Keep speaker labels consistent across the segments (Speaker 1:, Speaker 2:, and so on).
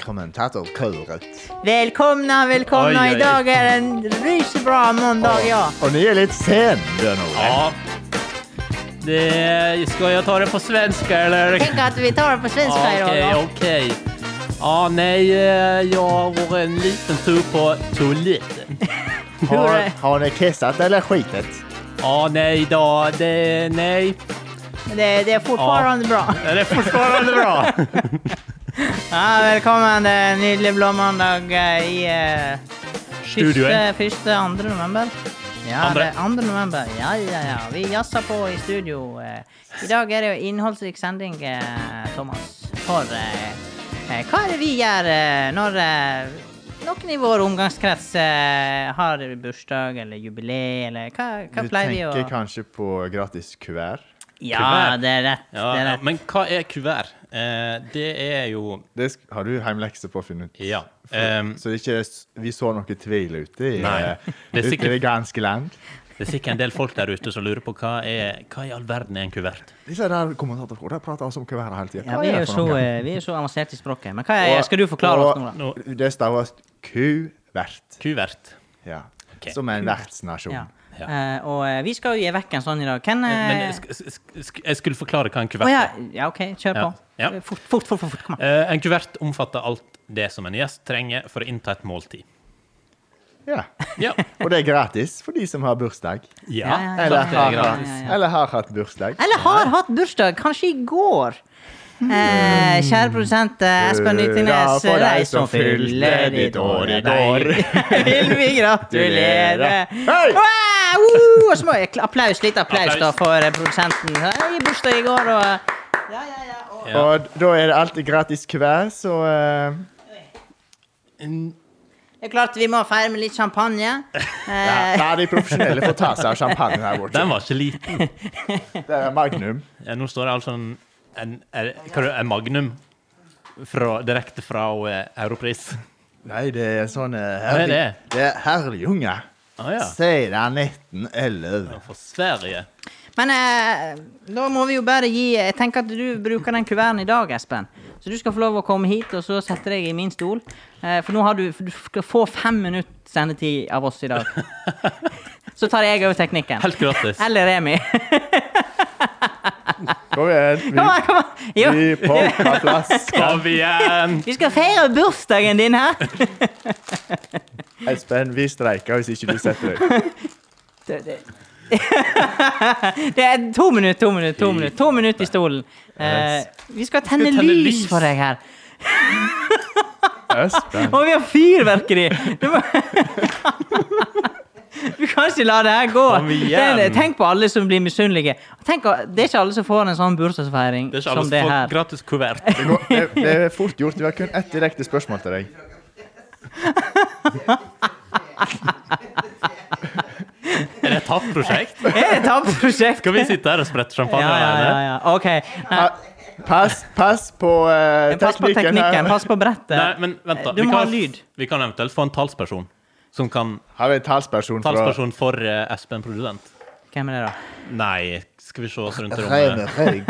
Speaker 1: kommentator kåret.
Speaker 2: Velkomna, velkomna.
Speaker 3: Oi, oi.
Speaker 2: I dag er det en rysebra mandag, ja.
Speaker 1: Og ni är lite sen, Bjørn Ole.
Speaker 3: Ja. Det, ska jag ta det på svenska eller?
Speaker 2: Tenk at vi tar det på svenska i dag.
Speaker 3: Okej,
Speaker 2: da.
Speaker 3: okej. Ja, nej, eh, jag var en liten tur på toaletten.
Speaker 1: Har,
Speaker 2: Hur-
Speaker 1: har ni kissat eller skitit?
Speaker 3: Ja, nej då, det, nej.
Speaker 2: Det, det er
Speaker 3: Ah.
Speaker 2: fortfarande bra.
Speaker 3: Det är fortfarande bra.
Speaker 2: Ja, velkommen. Det er en nydelig blå mandag eh, i eh, første,
Speaker 3: Studioet.
Speaker 2: første, andre november. Ja,
Speaker 3: Andre.
Speaker 2: det er andre november. Ja, ja, ja. Vi jazzer på i studio. eh. I dag er det jo innholdsrik sending, eh, Thomas. For eh, eh, hva er det vi gjør eh, når eh, noen i vår omgangskrets eh, har bursdag eller jubileum, eller hva, hva
Speaker 1: Du
Speaker 2: pleier vi å
Speaker 1: tenker kanskje på gratis kuvert?
Speaker 2: Ja,
Speaker 3: Kuvert.
Speaker 2: det er rett.
Speaker 3: Ja,
Speaker 2: det er
Speaker 3: ja,
Speaker 2: rett.
Speaker 3: men hva er kuvert? Eh, det er jo
Speaker 1: Det sk- har du heimlekse på å finne ut.
Speaker 3: Ja.
Speaker 1: For,
Speaker 3: ehm,
Speaker 1: så det ikke er s- vi så noe tvil ute i,
Speaker 3: Nei.
Speaker 1: eh,
Speaker 3: Det
Speaker 1: ute
Speaker 3: er
Speaker 1: i
Speaker 3: sikkert-
Speaker 1: det ganske land.
Speaker 3: det er sikkert en del folk der ute som lurer på hva, er, hva i all verden er en kuvert?
Speaker 1: Disse der kommentatorene de prater også om kuverter hele tida.
Speaker 2: Ja, vi er jo så, eh, vi er jo så avanserte i språket. Men hva er, skal du forklare oss nå, da?
Speaker 3: nå,
Speaker 1: Det staves kuvert.
Speaker 3: Kuvert.
Speaker 1: Ja.
Speaker 3: Ok.
Speaker 1: Som en vertsnasjon.
Speaker 2: Ja.
Speaker 3: Ja.
Speaker 2: Eh, og eh, vi skal jo gi vekk en sånn i dag. Hvem
Speaker 3: Men
Speaker 2: eh,
Speaker 3: sk, sk, sk, jeg skulle forklare hva en
Speaker 2: Å
Speaker 3: kuvert
Speaker 2: ja.
Speaker 3: er.
Speaker 2: ja, OK, kjør på.
Speaker 3: Ja.
Speaker 2: Eh, Fort, fort, fort. fort, fort. Kom an.
Speaker 3: Eh, en kuvert omfatter alt det som en gjest trenger for å innta et måltid.
Speaker 1: Ja.
Speaker 3: Ja.
Speaker 1: Og det er gratis for de som har bursdag.
Speaker 3: ja,
Speaker 2: ja, ja,
Speaker 1: Eller
Speaker 3: klart det
Speaker 1: har,
Speaker 2: ja,
Speaker 3: er
Speaker 2: ja.
Speaker 3: gratis.
Speaker 1: hatt- eller har hatt bursdag.
Speaker 2: Eller har hatt bursdag, kanskje i går. Eh, kjære produsent eh, Espen
Speaker 1: Hmm. Hurra
Speaker 2: Nyttingnes,
Speaker 1: for deg
Speaker 2: reis
Speaker 1: som
Speaker 2: og fyller
Speaker 1: fyller ditt
Speaker 2: ditt år
Speaker 1: år
Speaker 2: i
Speaker 1: i
Speaker 2: dag. Vil vi gratulere.
Speaker 1: Hei!
Speaker 2: Wow! Uh, og så må jeg kla- applaus, litt applaus
Speaker 3: Applaus.
Speaker 2: da for eh, produsenten. Hei, bursdag i går, og eh, Ja, ja, ja. Og
Speaker 3: Ja.
Speaker 1: Og da er det alltid gratis kuvert, så eh,
Speaker 3: Mm,
Speaker 2: det er klart vi må feire med litt champagne. Eh,
Speaker 1: Nei, de profesjonelle får ta seg av champagne her borte.
Speaker 3: Den var ikke liten.
Speaker 1: Det er Magnum.
Speaker 3: Ja, nå står det altså en, en, er- hva er det, en Magnum fra, direkte fra eh, Europris.
Speaker 1: Nei, det er sånn eh,
Speaker 3: Hva er det?
Speaker 1: Det er Herrljunga.
Speaker 3: Å ja.
Speaker 1: Siden 1911.
Speaker 3: Fra Sverige.
Speaker 2: Men eh, da må vi jo bare gi Jeg tenker at du bruker den kuverten i dag, Espen. Så du skal få lov å komme hit, og så sette deg i min stol. Eh, for nå har du Du skal få fem minutter sendetid av oss i dag. så tar jeg over teknikken.
Speaker 3: Helt gratis.
Speaker 2: Eller Remi.
Speaker 1: Kom igjen.
Speaker 2: kom an, kom an!
Speaker 1: Vi,
Speaker 2: Jo.
Speaker 1: vi popper plass.
Speaker 3: Kom igjen!
Speaker 2: Vi skal feire bursdagen din her!
Speaker 1: Espen, vi streiker hvis ikke du setter deg.
Speaker 2: Det, det. det er to minutter, to minutter, to minutter To minutter i stolen. Eh, vi skal tenne,
Speaker 3: tenne
Speaker 2: lys
Speaker 3: lys.
Speaker 2: for deg her.
Speaker 1: Espen.
Speaker 2: Og vi har fyrverkeri! Du, må... du kan ikke la det her gå.
Speaker 3: Kom igjen.
Speaker 2: Det er- Tenk på alle som blir misunnelige. Tenk, å- det er ikke alle som får en sånn bursdagsfeiring
Speaker 3: Det er ikke alle
Speaker 2: som det
Speaker 3: som får
Speaker 2: her.
Speaker 3: gratis kuvert.
Speaker 1: Det, går, det, det er fort gjort. Vi har kun ett direkte spørsmål til deg.
Speaker 3: Er det et tapt prosjekt?
Speaker 2: Er det et tapt prosjekt?
Speaker 3: Skal vi sitte her og sprette
Speaker 2: ja,
Speaker 3: champagne?
Speaker 2: ja, ja, ja. OK. Nei,
Speaker 1: Pa- Ah, Pass, pass på eh,
Speaker 2: pass på
Speaker 1: teknikken.
Speaker 2: teknikken.
Speaker 1: her.
Speaker 2: Pass på brettet.
Speaker 3: Nei, men vent da.
Speaker 2: Du
Speaker 3: Vi
Speaker 2: må
Speaker 3: kan-
Speaker 2: ha lyd.
Speaker 3: Vi kan eventuelt få en talsperson. Som kan
Speaker 1: Har vi en talsperson fra
Speaker 3: Talsperson for eh, Espen Produsent.
Speaker 2: Hvem er det, da?
Speaker 3: Nei, skal vi se oss rundt i
Speaker 1: Reine
Speaker 3: rommet.
Speaker 1: Røig.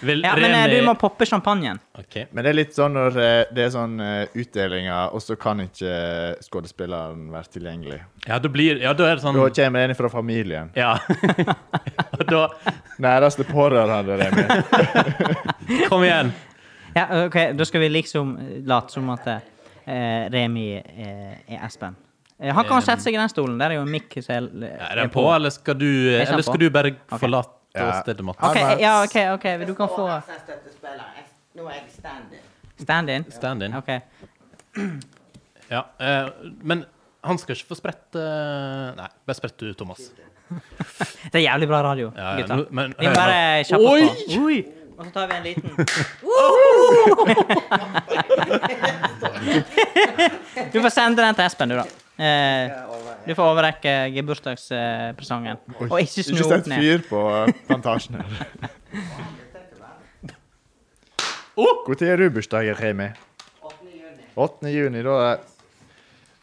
Speaker 3: Vil
Speaker 2: Ja, men eh,
Speaker 3: Remi-
Speaker 2: du må poppe champagnen.
Speaker 3: Ok.
Speaker 1: Men det er litt sånn når eh, det er sånn eh, utdelinger, og så kan ikke eh, skuespilleren være tilgjengelig.
Speaker 3: Ja, da blir Ja, da er det sånn
Speaker 1: Da kommer en fra familien.
Speaker 3: Ja. Og da
Speaker 1: Næreste pårørende. det er med.
Speaker 3: Kom igjen.
Speaker 2: Ja, ok, Da skal vi liksom eh, late som at eh, Remi eh, er Espen. Eh, han kan
Speaker 3: Em.
Speaker 2: sette seg i den stolen. Der er jo en mic. som Er
Speaker 3: Er den på, eller skal du
Speaker 2: Jeg kjenner
Speaker 3: Eller skal du bare
Speaker 2: Ok.
Speaker 3: forlate
Speaker 1: Ja.
Speaker 3: stedet, Mats?
Speaker 2: Ok,
Speaker 1: Mats.
Speaker 2: ja, ok, ok, du kan få
Speaker 4: Nå er jeg stand-in.
Speaker 2: stand-in.
Speaker 3: Stand in.
Speaker 2: Ok.
Speaker 3: Ja. eh, Men han skal ikke få sprette Nei, bare sprett du, Thomas.
Speaker 2: Det er jævlig bra radio,
Speaker 3: Ja, ja,
Speaker 2: gutter.
Speaker 3: nå- men-
Speaker 2: Vi må bare kjappe
Speaker 3: Oi!
Speaker 2: oss på. Oi! Og så tar vi en liten Du får sende den til Espen, du, da. Eh, du får overrekke eh, bursdagspresangen. Og ikke snu
Speaker 1: Ikke
Speaker 2: opp
Speaker 1: sett
Speaker 2: ned.
Speaker 1: fyr på plantasjen her.
Speaker 3: Oh!
Speaker 1: Når er du bursdag, Remi? 8. juni. Da er det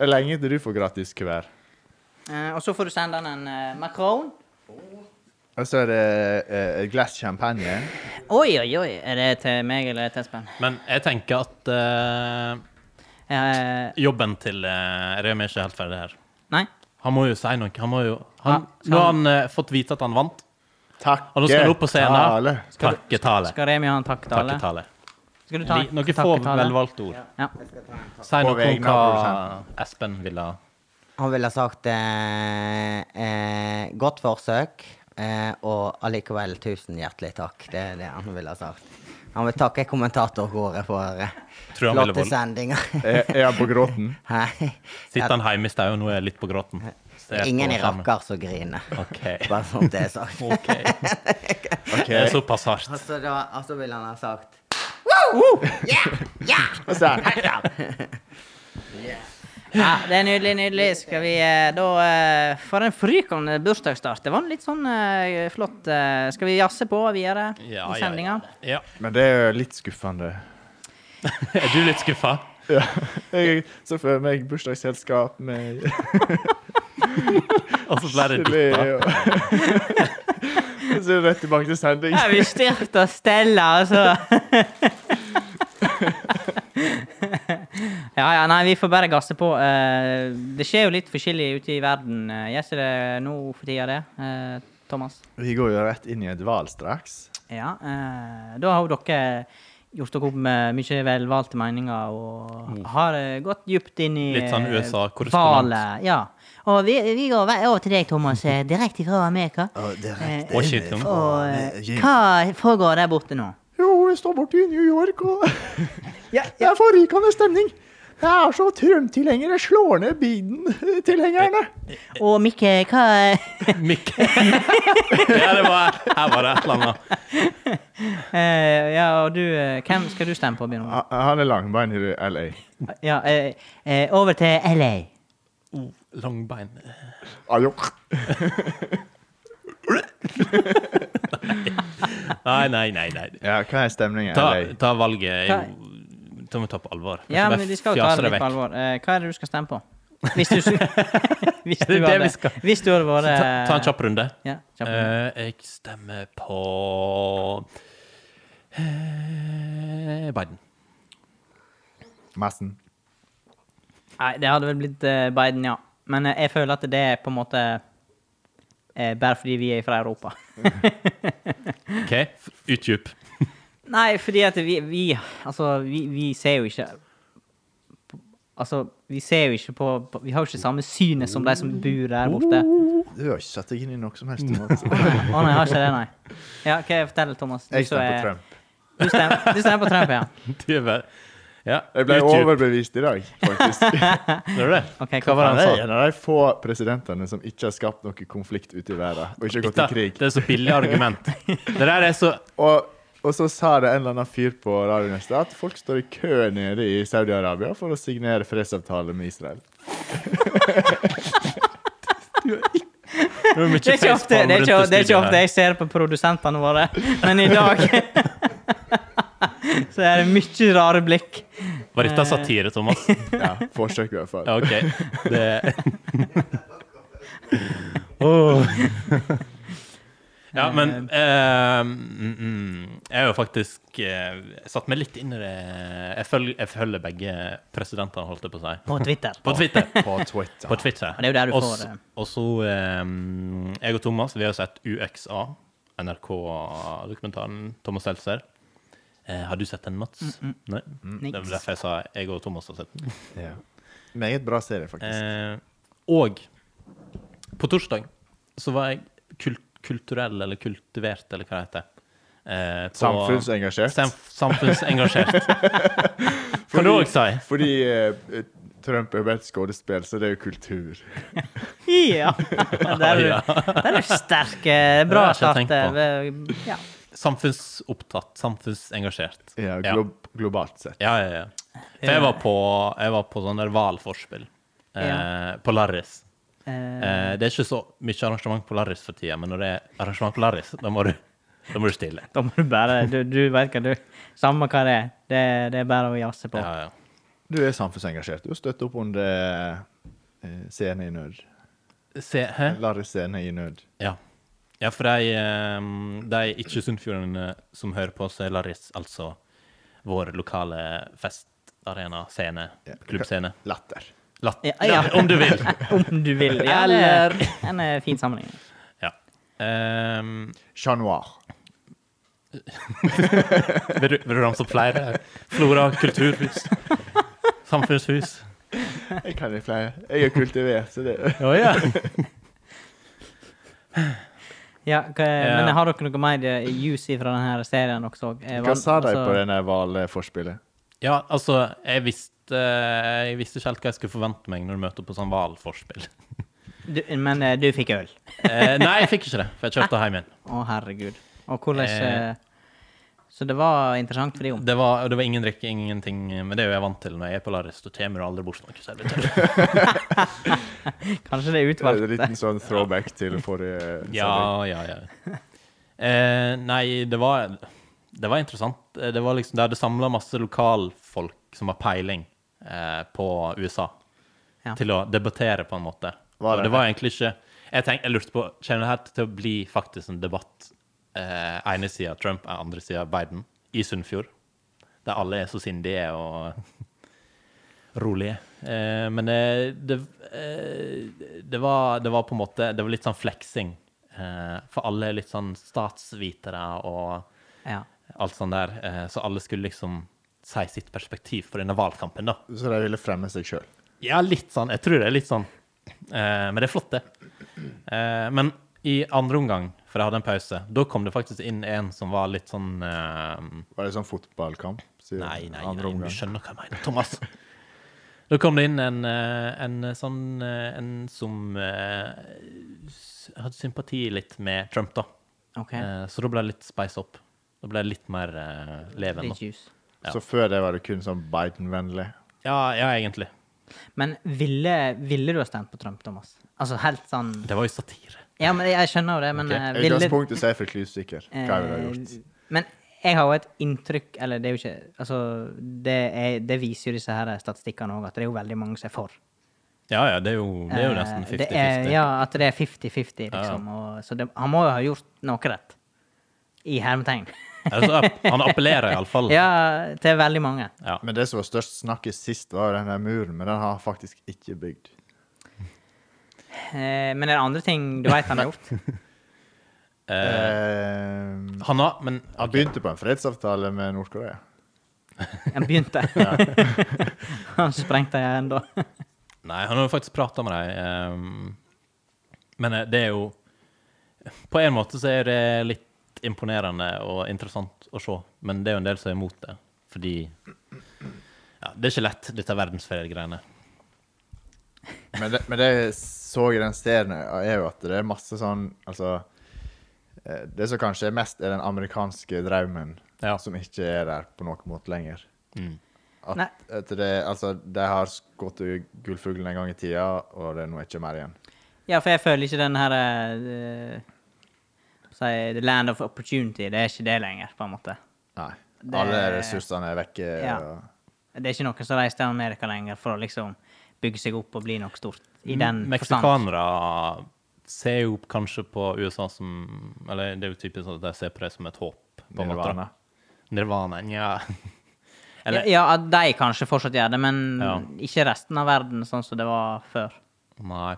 Speaker 1: er lenge til du får gratis kuvert.
Speaker 2: Eh, og så får du sende den en eh, makron.
Speaker 1: Og så er det eh, et glass champagne.
Speaker 2: Oi, oi, oi. Er det til meg eller til Espen?
Speaker 3: Men jeg tenker at eh,
Speaker 2: Eh,
Speaker 3: jobben til uh, Remi er ikke helt ferdig her.
Speaker 2: nei.
Speaker 3: Han må jo si noe. Han må jo, han,
Speaker 2: Ja, så
Speaker 3: nå har han eh, fått vite at han vant.
Speaker 1: Takk.
Speaker 3: Og nå skal han opp på
Speaker 1: Tale.
Speaker 3: scenen. Takketale.
Speaker 2: Skal Remi ha en takketale?
Speaker 3: Takketale.
Speaker 2: Skal du ta
Speaker 3: Li-
Speaker 2: en
Speaker 3: Noen få
Speaker 2: takketale?
Speaker 3: velvalgte ord.
Speaker 2: Ja.
Speaker 4: Jeg skal ta en takk.
Speaker 3: Si
Speaker 1: På
Speaker 3: noe
Speaker 1: vegne
Speaker 3: om
Speaker 1: av
Speaker 3: hva Espen ville ha.
Speaker 4: Han ville ha sagt eh, eh, godt forsøk, eh, og allikevel tusen hjertelig takk. Det er det han ville ha sagt. Han vil takke kommentatorkoret for eh,
Speaker 3: Tror han ville
Speaker 4: flotte
Speaker 3: vold-
Speaker 4: sendinger.
Speaker 1: Er, er han på gråten?
Speaker 4: Hei.
Speaker 3: Sitter han hjemme i stad og nå er jeg litt på gråten? Ser på
Speaker 4: Ingen i
Speaker 3: skjermen.
Speaker 4: rakker som griner.
Speaker 3: Ok.
Speaker 4: Bare sånn det er sagt.
Speaker 3: OK.
Speaker 1: OK.
Speaker 3: Det er såpass hardt.
Speaker 4: Altså, da, altså vil han ha sagt
Speaker 1: Og så er han,
Speaker 2: ja, det er nydelig, nydelig. Skal vi eh, da eh, For en frykende bursdagsstart. Det var en litt sånn eh, flott eh, Skal vi jazze på videre
Speaker 3: Ja,
Speaker 2: i
Speaker 3: ja,
Speaker 2: sendinga?
Speaker 3: ja.
Speaker 1: Men det er jo litt skuffende.
Speaker 3: Er du litt skuffa?
Speaker 1: Ja. Jeg så for meg bursdagsselskap med
Speaker 3: Og så ble det
Speaker 1: chili
Speaker 3: dippa?
Speaker 1: og Og så rett tilbake til sending.
Speaker 2: Ja, vi styrte og stella, altså. ja, ja, nei, vi får bare gasse på. Eh, det skjer jo litt forskjellig ute i verden. Eh, Gjør ikke det nå for tida, det, eh, Thomas?
Speaker 1: Vi går jo rett inn i en dval straks.
Speaker 2: Ja, eh, da har jo dere gjort dere opp med mye velvalgte meninger og har eh, gått dypt inn i
Speaker 3: Mm. Litt sånn
Speaker 2: eh,
Speaker 3: USA-korrespondent.
Speaker 2: valet. Ja. Og vi, vi går ve- over til deg, Thomas, eh, direkte fra Amerika. Eh,
Speaker 3: Og skyter om.
Speaker 2: Og eh, hva foregår der borte nå?
Speaker 1: Jo, jeg står borte i New York, og det er forrykende stemning. Jeg er så Trump-tilhenger. Jeg slår ned Biden-tilhengerne.
Speaker 3: Eh,
Speaker 2: Og Mikke, hva eh,
Speaker 3: Mikk. Ja, det var Her var det et eller annet.
Speaker 2: Eh, ja, og du, eh, hvem skal du stemme på, Bjørn?
Speaker 1: Ah, Han er langbein i LA.
Speaker 2: Ja, eh, eh, over til LA.
Speaker 3: Oh, Langbein.
Speaker 1: Ajo.
Speaker 3: Nei, nei, nei. nei.
Speaker 1: Ja, hva er stemningen i
Speaker 3: Ta,
Speaker 1: LA?
Speaker 3: ta valget i Ta må ta på alvor. Kan
Speaker 2: Ja,
Speaker 3: ikke
Speaker 2: men
Speaker 3: bare
Speaker 2: vi skal jo ta
Speaker 3: fjase
Speaker 2: det litt
Speaker 3: vekk.
Speaker 2: på alvor. Eh, hva er det du skal stemme på? Hvis du, hvis
Speaker 3: det
Speaker 2: du,
Speaker 3: det vi
Speaker 2: hadde,
Speaker 3: skal?
Speaker 2: hvis du hadde
Speaker 3: Så
Speaker 2: vært
Speaker 3: Ta, ta en kjapp runde.
Speaker 2: Ja, kjapp.
Speaker 3: Eh, jeg stemmer på eh, Biden.
Speaker 1: Massen.
Speaker 2: Nei, det hadde vel blitt eh, Biden, ja. Men eh, jeg føler at det er på en måte eh, bare fordi vi er fra Europa.
Speaker 3: OK? Utdyp.
Speaker 2: Nei, fordi at vi, vi Altså, vi, vi ser jo ikke Altså, vi ser jo ikke på, på Vi har jo ikke samme synet som de som bor der borte.
Speaker 1: Du har ikke satt deg inn i noe som helst. Thomas.
Speaker 2: Å nei, å nei, jeg har ikke det, nei. Ja, hva Fortell, Thomas. Du
Speaker 1: Jeg
Speaker 2: som
Speaker 1: stemmer
Speaker 2: er-
Speaker 1: på Trump.
Speaker 2: Du stemmer, du stemmer på Trump, ja.
Speaker 3: Du er bare- Ja,
Speaker 1: Jeg ble
Speaker 3: utdyp.
Speaker 1: overbevist i dag, faktisk.
Speaker 3: Gjør du det?
Speaker 2: Ok,
Speaker 3: Hva var det
Speaker 1: Han er
Speaker 3: han sa?
Speaker 1: en av de få presidentene som ikke har skapt noe konflikt ute i verden, og ikke gått i
Speaker 3: Dette,
Speaker 1: krig.
Speaker 3: det er så billig argument. Det der er så
Speaker 1: Og, og så sa det en eller annen fyr på radioen i stad at folk står i kø nede i Saudi-Arabia for å signere fredsavtale med Israel.
Speaker 3: Det er mye
Speaker 2: Det er ikke ofte, det er ikke, det er ikke ofte
Speaker 3: facepalm rundt i
Speaker 2: jeg ser på produsentene våre, men i dag Så er det mye rare blikk.
Speaker 3: studioet her. Var dette satire, Thomas?
Speaker 1: Ja, forsøk i hvert fall.
Speaker 3: Ja, OK. Det Åh. Ja, men eh, mm, mm, Jeg er jo faktisk eh, Jeg satt meg litt inn i det Jeg følger, jeg følger begge presidentene, holdt jeg på å si.
Speaker 2: På Twitter.
Speaker 3: På Twitter.
Speaker 1: På Twitter.
Speaker 3: På Twitter.
Speaker 2: det er jo der du
Speaker 3: Og
Speaker 2: får
Speaker 3: s-
Speaker 2: det.
Speaker 3: Og så ehm, Jeg og Thomas vi har jo sett UXA, NRK-dokumentaren. Thomas Seltzer. Eh, har du sett den, Mats?
Speaker 2: Mm,
Speaker 3: Nei? Det var derfor jeg sa jeg og Thomas har sett den.
Speaker 1: Ja. Meget bra serie, faktisk.
Speaker 3: Eh, og på torsdag så var jeg kul kulturell, eller kultivert, eller hva det heter. Eh, på-
Speaker 1: Samfunnsengasjert.
Speaker 3: Sam samfunnsengasjert. kan du òg si?
Speaker 1: Fordi eh, Trump er bare et skuespill, så det er jo kultur.
Speaker 2: Ja. Der er du, der er du sterk. eh, Bra
Speaker 3: Det har
Speaker 2: start.
Speaker 3: jeg ikke tenkt
Speaker 2: eh, Ja.
Speaker 3: Samfunnsopptatt, samfunnsengasjert.
Speaker 1: Ja,
Speaker 3: Ja.
Speaker 1: glo globalt sett.
Speaker 3: Ja, ja, ja. For jeg var på, jeg var på sånn der hvalforspill eh, på Larris.
Speaker 2: Eh,
Speaker 3: Eh, det er ikke så mye arrangement på Larris for tida, men når det er arrangement på Larris, da må du, da må du stille.
Speaker 2: Da må du bare Du, du vet hva du Samme hva det er. Det, det er bare å jazze på.
Speaker 3: Ja, ja.
Speaker 1: Du er samfunnsengasjert. Du støtter opp under eh, Scene i nød.
Speaker 3: Se, hæ? Eh?
Speaker 1: Larry Scene i nød.
Speaker 3: Ja. Ja, for de, eh, de ikke-sunnfjordene som hører på, så er Laris altså vår lokale festarena, scene,
Speaker 1: Ja.
Speaker 3: klubbscene.
Speaker 1: Latter.
Speaker 3: Latt,
Speaker 2: Ja, ja.
Speaker 3: om du vil.
Speaker 2: Om du vil. Ja,
Speaker 3: Eller-
Speaker 2: det er En eh, fin sammenheng.
Speaker 3: Ja. Ehm,
Speaker 1: Chat noir.
Speaker 3: vil, du, vil du ramse opp flere? Flora kulturhus. Samfunnshus.
Speaker 1: Jeg kan ikke flere. Jeg er kultivert, så det
Speaker 3: Å ja.
Speaker 2: Ja, hva,
Speaker 3: Ja.
Speaker 2: Men har dere noe mer eh, juicy fra denne serien også? Eh,
Speaker 1: Hva
Speaker 2: van-
Speaker 1: sa de
Speaker 2: altså-
Speaker 1: på denne hvalforspillet?
Speaker 3: Ja, altså, jeg visste, jeg visste ikke helt hva jeg skulle forvente meg når du møter på sånn hvalforspill.
Speaker 2: Du, men eh, du fikk øl?
Speaker 3: Eh, nei, jeg fikk ikke det, for jeg kjørte hjem igjen.
Speaker 2: Å, herregud. Og hvordan
Speaker 3: Eh.
Speaker 2: eh, Så det var interessant for de om.
Speaker 3: Det var, det var ingen drikke, ingenting, men det er jo jeg vant til når jeg er på Laris. Da kommer du aldri bort noe, så jeg blir tørr.
Speaker 2: Kanskje det er
Speaker 1: En
Speaker 2: utvalgt.
Speaker 1: liten sånn throwback til forrige
Speaker 3: Ja, ja, ja. Eh, nei, det var, det var interessant. Eh, Det var liksom, det hadde samla masse lokalfolk som har peiling eh, på USA,
Speaker 2: Ja.
Speaker 3: til å debattere, på en måte.
Speaker 1: Var
Speaker 3: Og
Speaker 1: det
Speaker 3: det var egentlig ikke Jeg, tenk, jeg lurte på Kommer det her til å bli faktisk en debatt eh, ene sida Trump, eh, andre sida Biden, i Sunnfjord? Der alle er så sindige og rolige. Eh, men eh, det, eh, det, var, det var på en måte Det var litt sånn fleksing. Eh, for alle er litt sånn statsvitere og
Speaker 2: Ja.
Speaker 3: alt sånt der. Eh, så alle skulle liksom si sitt perspektiv på denne valgkampen, da.
Speaker 1: Så de ville fremme seg sjøl.
Speaker 3: Ja, litt sånn. Jeg tror det er litt sånn. Eh, men det er flott, det. Eh, men i andre omgang, for jeg hadde en pause, da kom det faktisk inn en som var litt sånn eh,
Speaker 1: Var det sånn fotballkamp? sier
Speaker 3: Nei, nei,
Speaker 1: andre
Speaker 3: nei, du
Speaker 1: omgang.
Speaker 3: skjønner hva jeg mener, Thomas. Da kom det inn en, eh, en sånn eh, En som eh, s- hadde sympati litt med Trump, da.
Speaker 2: OK.
Speaker 3: Eh, så da ble det litt spice opp. Da ble det litt mer eh, leven.
Speaker 2: Litt
Speaker 3: Da.
Speaker 2: juice.
Speaker 3: Ja.
Speaker 1: Så før det var det kun sånn Biden-vennlig.
Speaker 3: Ja, ja, egentlig.
Speaker 2: Men ville, ville du ha stemt på Trump, Thomas? Altså helt sånn
Speaker 3: Det var jo satire.
Speaker 2: Ja, men jeg skjønner jo det, men
Speaker 3: Ok.
Speaker 2: eh, ville
Speaker 1: Utgangspunktet så er jeg fryktelig usikker. Hva jeg ville ha gjort.
Speaker 2: Eh, Men jeg har jo et inntrykk Eller det er jo ikke Altså, det, er, det viser jo disse her statistikkene òg, at det er jo veldig mange som er for.
Speaker 3: Ja, ja, det er jo, det er jo nesten
Speaker 2: Eh, det er-
Speaker 3: 50-50.
Speaker 2: Ja, at det er 50-50, liksom. Og, så det, han må jo ha gjort noe rett. I hermetegn.
Speaker 3: Altså, app- han appellerer iallfall.
Speaker 2: ja, til veldig mange.
Speaker 3: Ja.
Speaker 1: Men det som var størst snakk i sist, var jo den der muren, men den har han faktisk ikke bygd.
Speaker 2: Eh, men er det andre ting du veit han har gjort?
Speaker 3: Eh,
Speaker 1: Eh,
Speaker 3: han har Men
Speaker 1: han begynte på en fredsavtale med Nord-Korea.
Speaker 2: Han begynte. han sprengte igjen da.
Speaker 3: Nei, han har jo faktisk prata med deg. ehm, men eh, det er jo På en måte så er det litt imponerende og interessant å se, men det er jo en del som er imot det. Fordi ja, Det er ikke lett, dette verdensferiegreiene.
Speaker 1: Men det, men det jeg så i den serien, er jo at det er masse sånn Altså eh, Det som kanskje er mest, er den amerikanske drømmen,
Speaker 3: Ja.
Speaker 1: som ikke er der på noen måte lenger.
Speaker 3: Mm.
Speaker 1: At,
Speaker 2: Nei.
Speaker 1: at det, altså, de har skutt gullfuglen en gang i tida, og det er nå ikke mer igjen.
Speaker 2: Ja, for jeg føler ikke den her eh, si, The land of opportunity, det er ikke det lenger, på en måte.
Speaker 1: Nei.
Speaker 2: Det-
Speaker 1: Alle ressursene er vekke.
Speaker 2: Ja.
Speaker 1: og-
Speaker 2: Det er ikke noen som reiser til Amerika lenger for å liksom bygge seg opp og bli noe stort. I den forstand.
Speaker 3: Meksikanere ser jo kanskje på USA som Eller det er jo typisk at de ser på det som et håp. På en måte,
Speaker 1: Nirvana.
Speaker 3: da. Nirvana. Nja.
Speaker 2: Ja,
Speaker 3: Eller
Speaker 2: ja, at de kanskje fortsatt gjør det, men
Speaker 3: Ja.
Speaker 2: ikke resten av verden sånn som det var før.
Speaker 3: Nei.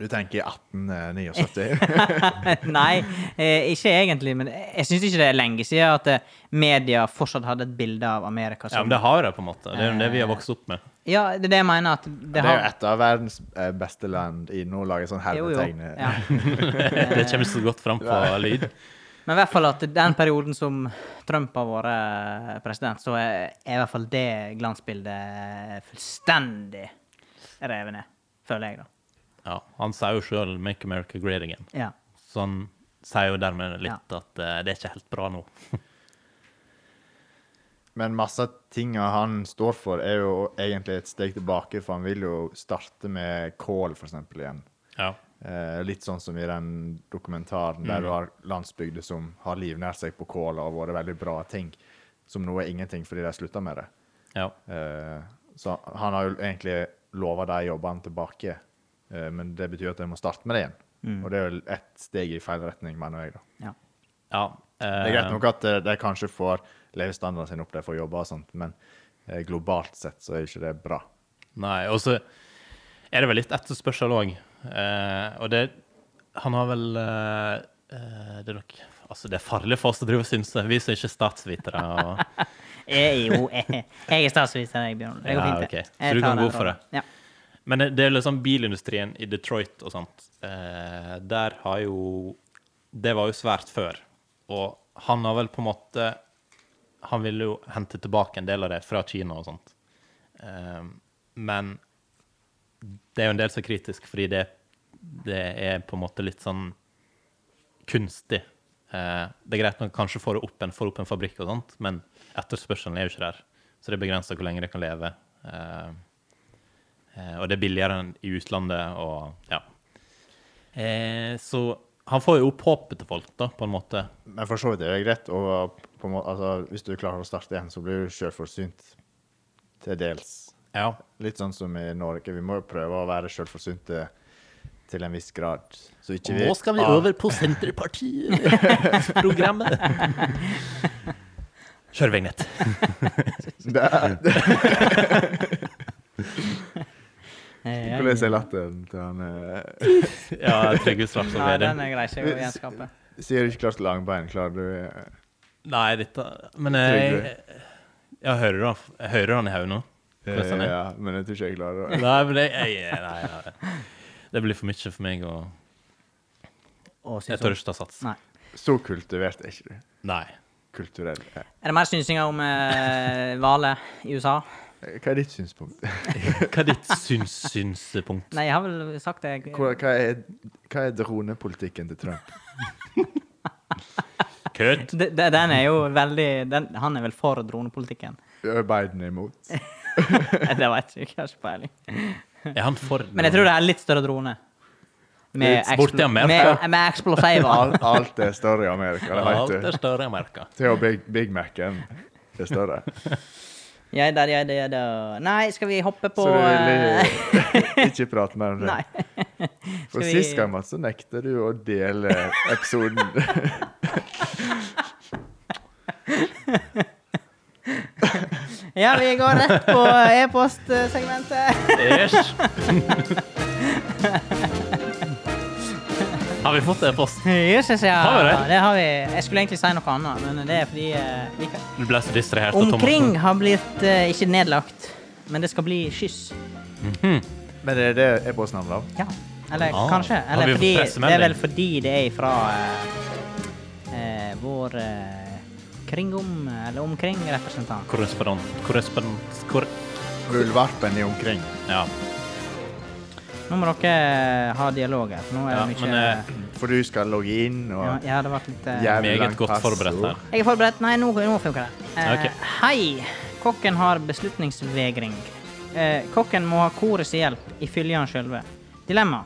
Speaker 1: Du tenker eh, i 1879.
Speaker 2: Nei, eh, ikke egentlig, men jeg syns ikke det er lenge siden at eh, media fortsatt hadde et bilde av Amerika
Speaker 3: Ja,
Speaker 2: som
Speaker 3: men det har jo det, på en måte. Det er jo det
Speaker 2: Eh.
Speaker 3: vi har vokst opp med.
Speaker 2: Ja, det er det jeg mener at
Speaker 1: Det
Speaker 2: det
Speaker 1: er jo
Speaker 2: har
Speaker 1: et av verdens eh, beste land i nå å lage sånn
Speaker 2: Jo, jo.
Speaker 1: hermetegn.
Speaker 2: Ja.
Speaker 3: Det kommer ikke så godt fram på lyd.
Speaker 2: Men i hvert fall at den perioden som Trump har vært eh, president, så er, er i hvert fall det glansbildet fullstendig revet ned, føler jeg, da.
Speaker 3: Ja, han sier jo sjøl 'Make America Great Again',
Speaker 2: Ja.
Speaker 3: så han sier jo dermed litt at eh, det er ikke helt bra nå.
Speaker 1: Men masse av tinga han står for, er jo egentlig et steg tilbake, for han vil jo starte med kål, for eksempel, igjen.
Speaker 3: Ja.
Speaker 1: Eh, litt sånn som i den dokumentaren der du har landsbygder som har livnært seg på kål og vært veldig bra ting, som nå er ingenting fordi de slutta med det.
Speaker 3: ja.
Speaker 1: Eh, så han har jo egentlig lova de jobbene tilbake, eh, men det betyr at de må starte med det igjen. Og det er vel ett steg i feil retning, mener jeg. da.
Speaker 2: Ja.
Speaker 3: Ja. eh,
Speaker 1: Det er greit nok at eh, de kanskje får levestandarden sin opp, de får jobber og sånt, men eh, globalt sett så er ikke det bra.
Speaker 3: eh, Nei, og så er det vel litt etterspørsel òg. og det Han har vel eh, eh, Det er nok Altså, det er farlig for oss å drive og synse. Vi som ikke er statsvitere. Og,
Speaker 2: Jeg, jo, jeg, jeg er statsminister, jeg, Bjørn. Det går
Speaker 3: Ja,
Speaker 2: fint,
Speaker 3: ok.
Speaker 2: det.
Speaker 3: Så
Speaker 2: Jeg tar
Speaker 3: du kan
Speaker 2: den
Speaker 3: gå for
Speaker 2: rollen. Ja.
Speaker 3: men det er liksom bilindustrien i Detroit og sånt. eh, der har jo Det var jo svært før. Og han har vel på en måte Han ville jo hente tilbake en del av det fra Kina og sånt. Eh, men det er jo en del som er kritisk, fordi det, det er på en måte litt sånn kunstig. Eh, det er greit man kanskje får opp en, får opp en fabrikk og sånt, men etterspørselen er jo ikke der. Så det er begrensa hvor lenge det kan leve. Eh, eh, og det er billigere enn i utlandet og ja. Eh, så han får jo opp håpet til folk, da, på en måte.
Speaker 1: Men for så vidt er det greit. Og på en måte, altså, hvis du klarer å starte igjen, så blir du sjølforsynt til dels.
Speaker 3: Ja.
Speaker 1: Litt sånn som i Norge. Vi må jo prøve å være sjølforsynte til en viss grad. Så ikke vi Ah,
Speaker 3: på Senterpartiet-programmet. Kjør vignett.
Speaker 1: der.
Speaker 2: Eh,
Speaker 1: Hvordan er latteren til han eh,
Speaker 3: Ja, Trygve Slagsvold
Speaker 2: Ja,
Speaker 3: Vedum.
Speaker 2: den er grei. så Jeg går gjenskape.
Speaker 1: Sier du ikke klart langbein, klarer du eh,
Speaker 3: Nei, dette Men jeg, jeg hører han, jeg hører han i hodet nå. Hvordan han er.
Speaker 1: Ja, men jeg tror ikke jeg klarer det.
Speaker 3: Nei, men jeg, jeg, nei, nei. Det blir for mye for meg, og
Speaker 2: Og
Speaker 3: jeg
Speaker 2: syns
Speaker 3: tør ikke ta sats.
Speaker 2: Nei.
Speaker 1: Så kultivert er ikke du.
Speaker 3: Nei.
Speaker 1: Kulturell. eh.
Speaker 2: Er det mer synsinger om eh, hvaler i USA?
Speaker 1: eh, Hva er ditt synspunkt?
Speaker 3: Hva er ditt syns synspunkt?
Speaker 2: Nei, jeg har vel sagt det.
Speaker 1: Hva, hva, er, hva er dronepolitikken til Trump?
Speaker 3: Kødd?
Speaker 2: De- de- Den er jo veldig den, Han er vel for dronepolitikken.
Speaker 1: Er Biden imot?
Speaker 2: Det vet jeg ikke. Jeg har ikke peiling.
Speaker 3: Er han for
Speaker 2: Men jeg tror det er litt større drone. Med,
Speaker 3: Litt borti
Speaker 2: eksplo-
Speaker 3: Amerika.
Speaker 2: med, med eksplosiver.
Speaker 1: Alt, alt er større i Amerika, det
Speaker 3: Alt
Speaker 1: vet
Speaker 3: er
Speaker 1: du.
Speaker 3: større i Amerika.
Speaker 1: Til og Big, Big Mac-en er større.
Speaker 2: Jeg der, jeg der, jeg der. Nei, skal vi hoppe på
Speaker 1: Så du
Speaker 2: eh,
Speaker 1: vil eh, ikke prate mer om det?
Speaker 2: Nei.
Speaker 1: For
Speaker 2: Skal vi-
Speaker 1: sist gang, Mats, så nekter du å dele episoden.
Speaker 2: Ja, vi går rett på e-postsegmentet.
Speaker 3: Æsj! Har vi fått det post?
Speaker 2: Jesus, ja.
Speaker 3: Har vi det?
Speaker 2: Det har vi. Jeg skulle egentlig si noe annet, men det er fordi eh, vi kan-
Speaker 3: Du ble så distrahert av
Speaker 2: Omkring
Speaker 3: Thomassen.
Speaker 2: har blitt eh, ikke nedlagt, men det skal bli skyss.
Speaker 3: Hmm.
Speaker 1: Men er det e-postnavnet av?
Speaker 2: Ja. Eller
Speaker 3: Ah,
Speaker 2: kanskje.
Speaker 3: har vi
Speaker 2: Eller
Speaker 3: fått
Speaker 2: fordi, det
Speaker 3: pressemelding?
Speaker 2: er vel fordi det er fra eh, vår eh, kringom, eller omkring-representant.
Speaker 3: Korrespondent. Korrespondent. Kor
Speaker 1: Gullvarpen i omkring.
Speaker 3: ja.
Speaker 2: Nå må dere eh, ha dialog her. for Nå er
Speaker 3: ja.
Speaker 2: det mye
Speaker 3: Men eh,
Speaker 1: For du skal logge inn
Speaker 2: ja,
Speaker 1: og
Speaker 2: ja, det ble litt eh,
Speaker 1: Jævlig
Speaker 3: meget
Speaker 1: langt
Speaker 3: godt
Speaker 1: passord.
Speaker 3: forberedt her.
Speaker 2: Jeg er forberedt. Nei, nå, nå funker det. Eh,
Speaker 3: Ok.
Speaker 2: Hei! Kokken har beslutningsvegring. Eh, kokken må ha korets hjelp, ifølge han sjølve. Dilemma.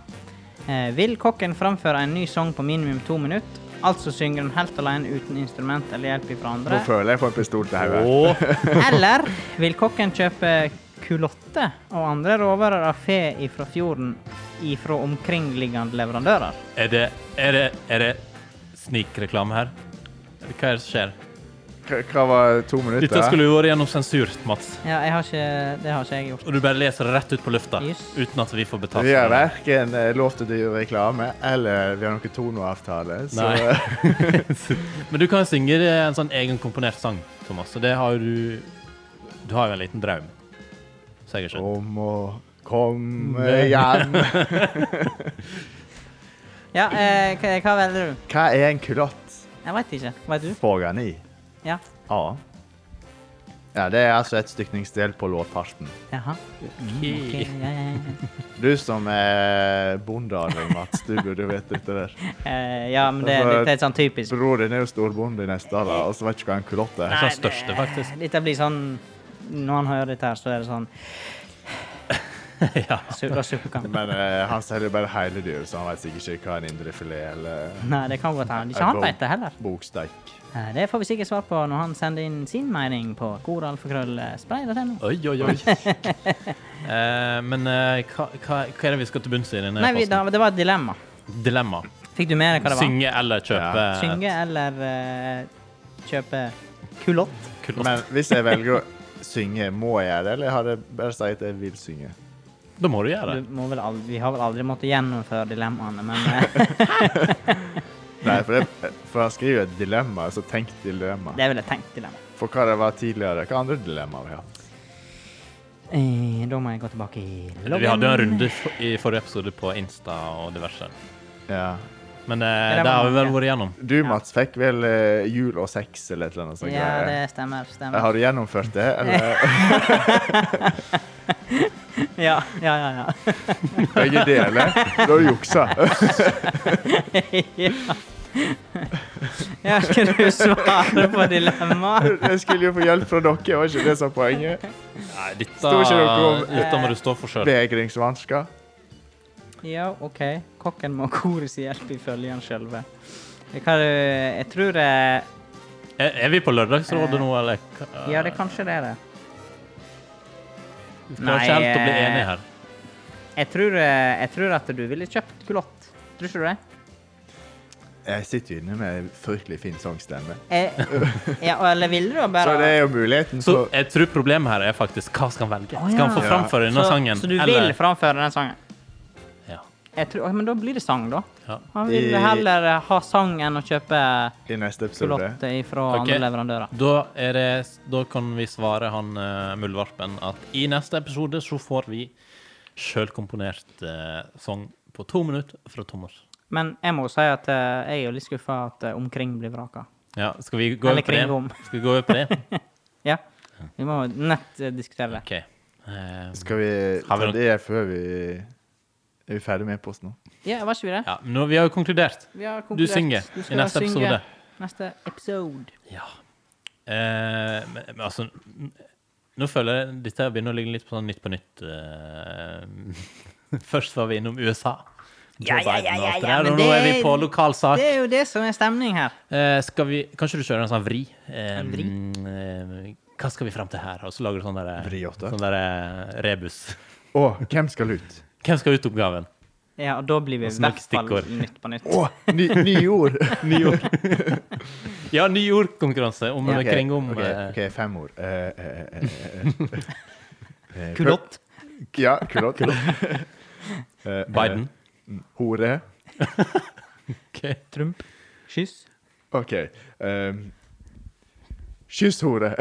Speaker 2: Eh, vil kokken framføre en ny sang på minimum to minutter? Altså synger han helt alene uten instrument eller hjelp fra
Speaker 1: Nå
Speaker 2: andre?
Speaker 1: føler jeg får en pistol til hodet.
Speaker 3: Åh,
Speaker 2: Eller vil kokken kjøpe kulotte og andre råvarer av fe ifra fjorden ifra omkringliggende leverandører?
Speaker 3: er det, er det, er det snikreklame her? Hva er det som skjer?
Speaker 1: Hva hva var to minutter?
Speaker 3: Dette skulle jo vært gjennom sensurt, Mats.
Speaker 2: Ja, jeg har ikke, det har ikke jeg gjort.
Speaker 3: Og du bare leser det rett ut på lufta
Speaker 2: Yes.
Speaker 3: uten at vi får betalt.
Speaker 1: Vi har
Speaker 3: for det.
Speaker 1: verken eh, lov til å drive reklame eller vi har noen tonoavtale. Så
Speaker 3: Nei. Men du kan synge en sånn egenkomponert sang, Thomas, og det har jo du Du har jo en liten draum, så jeg har skjønt.
Speaker 1: om å komme hjem
Speaker 2: Ja, eh, hva hva velger du?
Speaker 1: Hva er en kulott?
Speaker 2: Jeg veit ikke. Veit du?
Speaker 1: Får han i?
Speaker 2: Ja.
Speaker 1: A. Ja, det er altså et stykningsdel på lårparten.
Speaker 2: Jaha. Ok,
Speaker 3: Ok.
Speaker 2: ja, ja, ja.
Speaker 1: Du som er bondearving, Mats, du burde vite dette der.
Speaker 2: Eh, ja, men det,
Speaker 3: Altså,
Speaker 2: dette er et sånn typisk
Speaker 1: Bror din er jo storbonde i neste år, og så vet ikke hva en kulott er.
Speaker 3: Det er sånn største, faktisk.
Speaker 2: Dette blir sånn Når han hører dette her, så er det sånn
Speaker 3: ja.
Speaker 2: su- Da sukker han.
Speaker 1: Men eh, han selger bare hele dyr, så han vet sikkert ikke hva en indrefilet eller
Speaker 2: Nei, det kan godt hende. Ikke han vet det heller.
Speaker 1: boksteik
Speaker 2: Eh, det får vi sikkert svar på når han sender inn sin mening på koralfakrøllspray.no.
Speaker 3: Oi, oi, oi. Eh, men eh, hva, hva, hva er det vi skal til bunns i i denne
Speaker 2: Nei, vi, da,
Speaker 3: posten?
Speaker 2: det var et dilemma.
Speaker 3: Dilemma.
Speaker 2: Fikk du med deg hva det var?
Speaker 3: Synge eller kjøpe
Speaker 1: Ja.
Speaker 3: et
Speaker 2: Synge eller eh, kjøpe kulott?
Speaker 3: kulott.
Speaker 1: Men hvis jeg velger å synge, må jeg gjøre det, eller har jeg bare sagt at jeg vil synge?
Speaker 3: Da må du gjøre det.
Speaker 2: Du må vel aldri, vi har vel aldri måttet gjennomføre dilemmaene, men eh,
Speaker 1: Nei, for, det, for han skriver jo et dilemma, altså tenkt dilemma.
Speaker 2: det er vel et tenkt dilemma.
Speaker 1: For hva det var tidligere, hva andre dilemmaer vi har hatt?
Speaker 2: Eh, da må jeg gå tilbake i loggen.
Speaker 3: Vi hadde jo en runde f- i forrige episode på Insta og diverse.
Speaker 1: Ja.
Speaker 3: Men eh,
Speaker 2: det
Speaker 3: det
Speaker 2: var
Speaker 3: har vi vel
Speaker 2: mange.
Speaker 3: vært igjennom.
Speaker 1: Du, Mats, fikk vel eh, jul og sex eller et eller annet sånt?
Speaker 2: Ja, det
Speaker 1: greier.
Speaker 2: stemmer. stemmer.
Speaker 1: Har du gjennomført det, eller
Speaker 2: Ja, ja, ja.
Speaker 1: begge deler? Da har du juksa.
Speaker 2: ja. ja, skal du svare på dilemmaet?
Speaker 1: Jeg skulle jo få hjelp fra dere, var ikke det som var poenget?
Speaker 3: Nei, dette,
Speaker 1: Sto ikke dere om-
Speaker 3: dette må du stå for sjøl.
Speaker 1: Vegringsvansker.
Speaker 2: Ja, OK. Kokken må korets hjelp ifølge han sjølve. Hva du Jeg tror eh,
Speaker 3: Er, eh, er vi på Lørdagsrådet nå, eller? hva-
Speaker 2: Ja, det kanskje det er det.
Speaker 3: Vi klarer ikke helt å bli
Speaker 2: eh,
Speaker 3: enige her.
Speaker 2: Jeg tror, eh, jeg tror at du ville kjøpt kulott. Tror ikke du det?
Speaker 1: Jeg sitter jo inne med en fryktelig fin sangstemme.
Speaker 2: Eh, ja, eller ville du bare
Speaker 1: Så det er jo muligheten,
Speaker 3: Så
Speaker 1: så
Speaker 3: jeg tror problemet her er faktisk hva skal han velge?
Speaker 2: Å,
Speaker 3: Skal han få
Speaker 2: ja.
Speaker 3: framføre denne
Speaker 2: så,
Speaker 3: sangen?
Speaker 2: så du vil
Speaker 3: eller-
Speaker 2: framføre den sangen?
Speaker 3: Ja.
Speaker 2: Jeg tror, Oi, men da blir det sang, da.
Speaker 3: ja.
Speaker 2: Han vil
Speaker 1: I-
Speaker 2: heller eh, ha sang enn å kjøpe
Speaker 1: i neste episode
Speaker 2: kulott fra
Speaker 3: Ok.
Speaker 2: andre leverandører.
Speaker 3: Da, er det, da kan vi svare han eh, muldvarpen at i neste episode så får vi sjølkomponert uh, sang på to minutter fra Thomas.
Speaker 2: Men jeg må jo si at eh, jeg er jo litt skuffa at eh, Omkring blir vraka.
Speaker 3: Ja, skal vi gå
Speaker 2: Eller
Speaker 3: over på det?
Speaker 2: Kringrom.
Speaker 3: Skal vi gå over på det?
Speaker 2: Ja. Vi må jo nett eh, diskutere det.
Speaker 3: Ok. Eh,
Speaker 1: Skal vi
Speaker 3: Har vi
Speaker 1: ta
Speaker 3: noen-
Speaker 1: det før vi Er vi ferdig med e-posten nå?
Speaker 2: Ja, var ikke vi det?
Speaker 3: ja, men nå, vi har jo konkludert.
Speaker 2: Vi har
Speaker 3: Du synger i neste episode.
Speaker 2: Neste episode.
Speaker 3: Ja. Eh, men, men altså n- Nå føler jeg dette begynner å ligge litt på sånn Nytt på nytt. eh, først var vi innom USA.
Speaker 2: Ja,
Speaker 3: Joe
Speaker 2: ja, ja,
Speaker 3: Biden og alt
Speaker 2: ja, ja,
Speaker 3: det der,
Speaker 2: men
Speaker 3: og nå er
Speaker 2: det-
Speaker 3: vi på lokalsak.
Speaker 2: Det er jo det som er stemning her.
Speaker 3: Eh, skal vi, kanskje du kjører en sånn vri? Eh,
Speaker 2: En vri?
Speaker 3: mm, eh, hva skal vi fram til her? Og så lager du sånn der,
Speaker 1: Vri åtte.
Speaker 3: sånn der eh, rebus.
Speaker 1: Å, hvem skal ut?
Speaker 3: Hvem skal ut oppgaven?
Speaker 2: Ja, og da blir vi i
Speaker 3: Og snakk
Speaker 2: hvert fall
Speaker 3: stikkord.
Speaker 2: Nytt på nytt.
Speaker 1: Å, ny, nye ord!
Speaker 3: Nye ord. ja, ny ordkonkurranse om
Speaker 1: Ok,
Speaker 3: kring om
Speaker 1: ok,
Speaker 3: eh,
Speaker 1: OK, fem ord. Eh, eh, eh, eh, eh, eh.
Speaker 2: Kulott.
Speaker 1: Ja, kulott. Eh,
Speaker 3: Biden.
Speaker 1: eh, Hore.
Speaker 3: Ok.
Speaker 2: Trump. Kyss.
Speaker 1: OK. ehm, Kyss hore.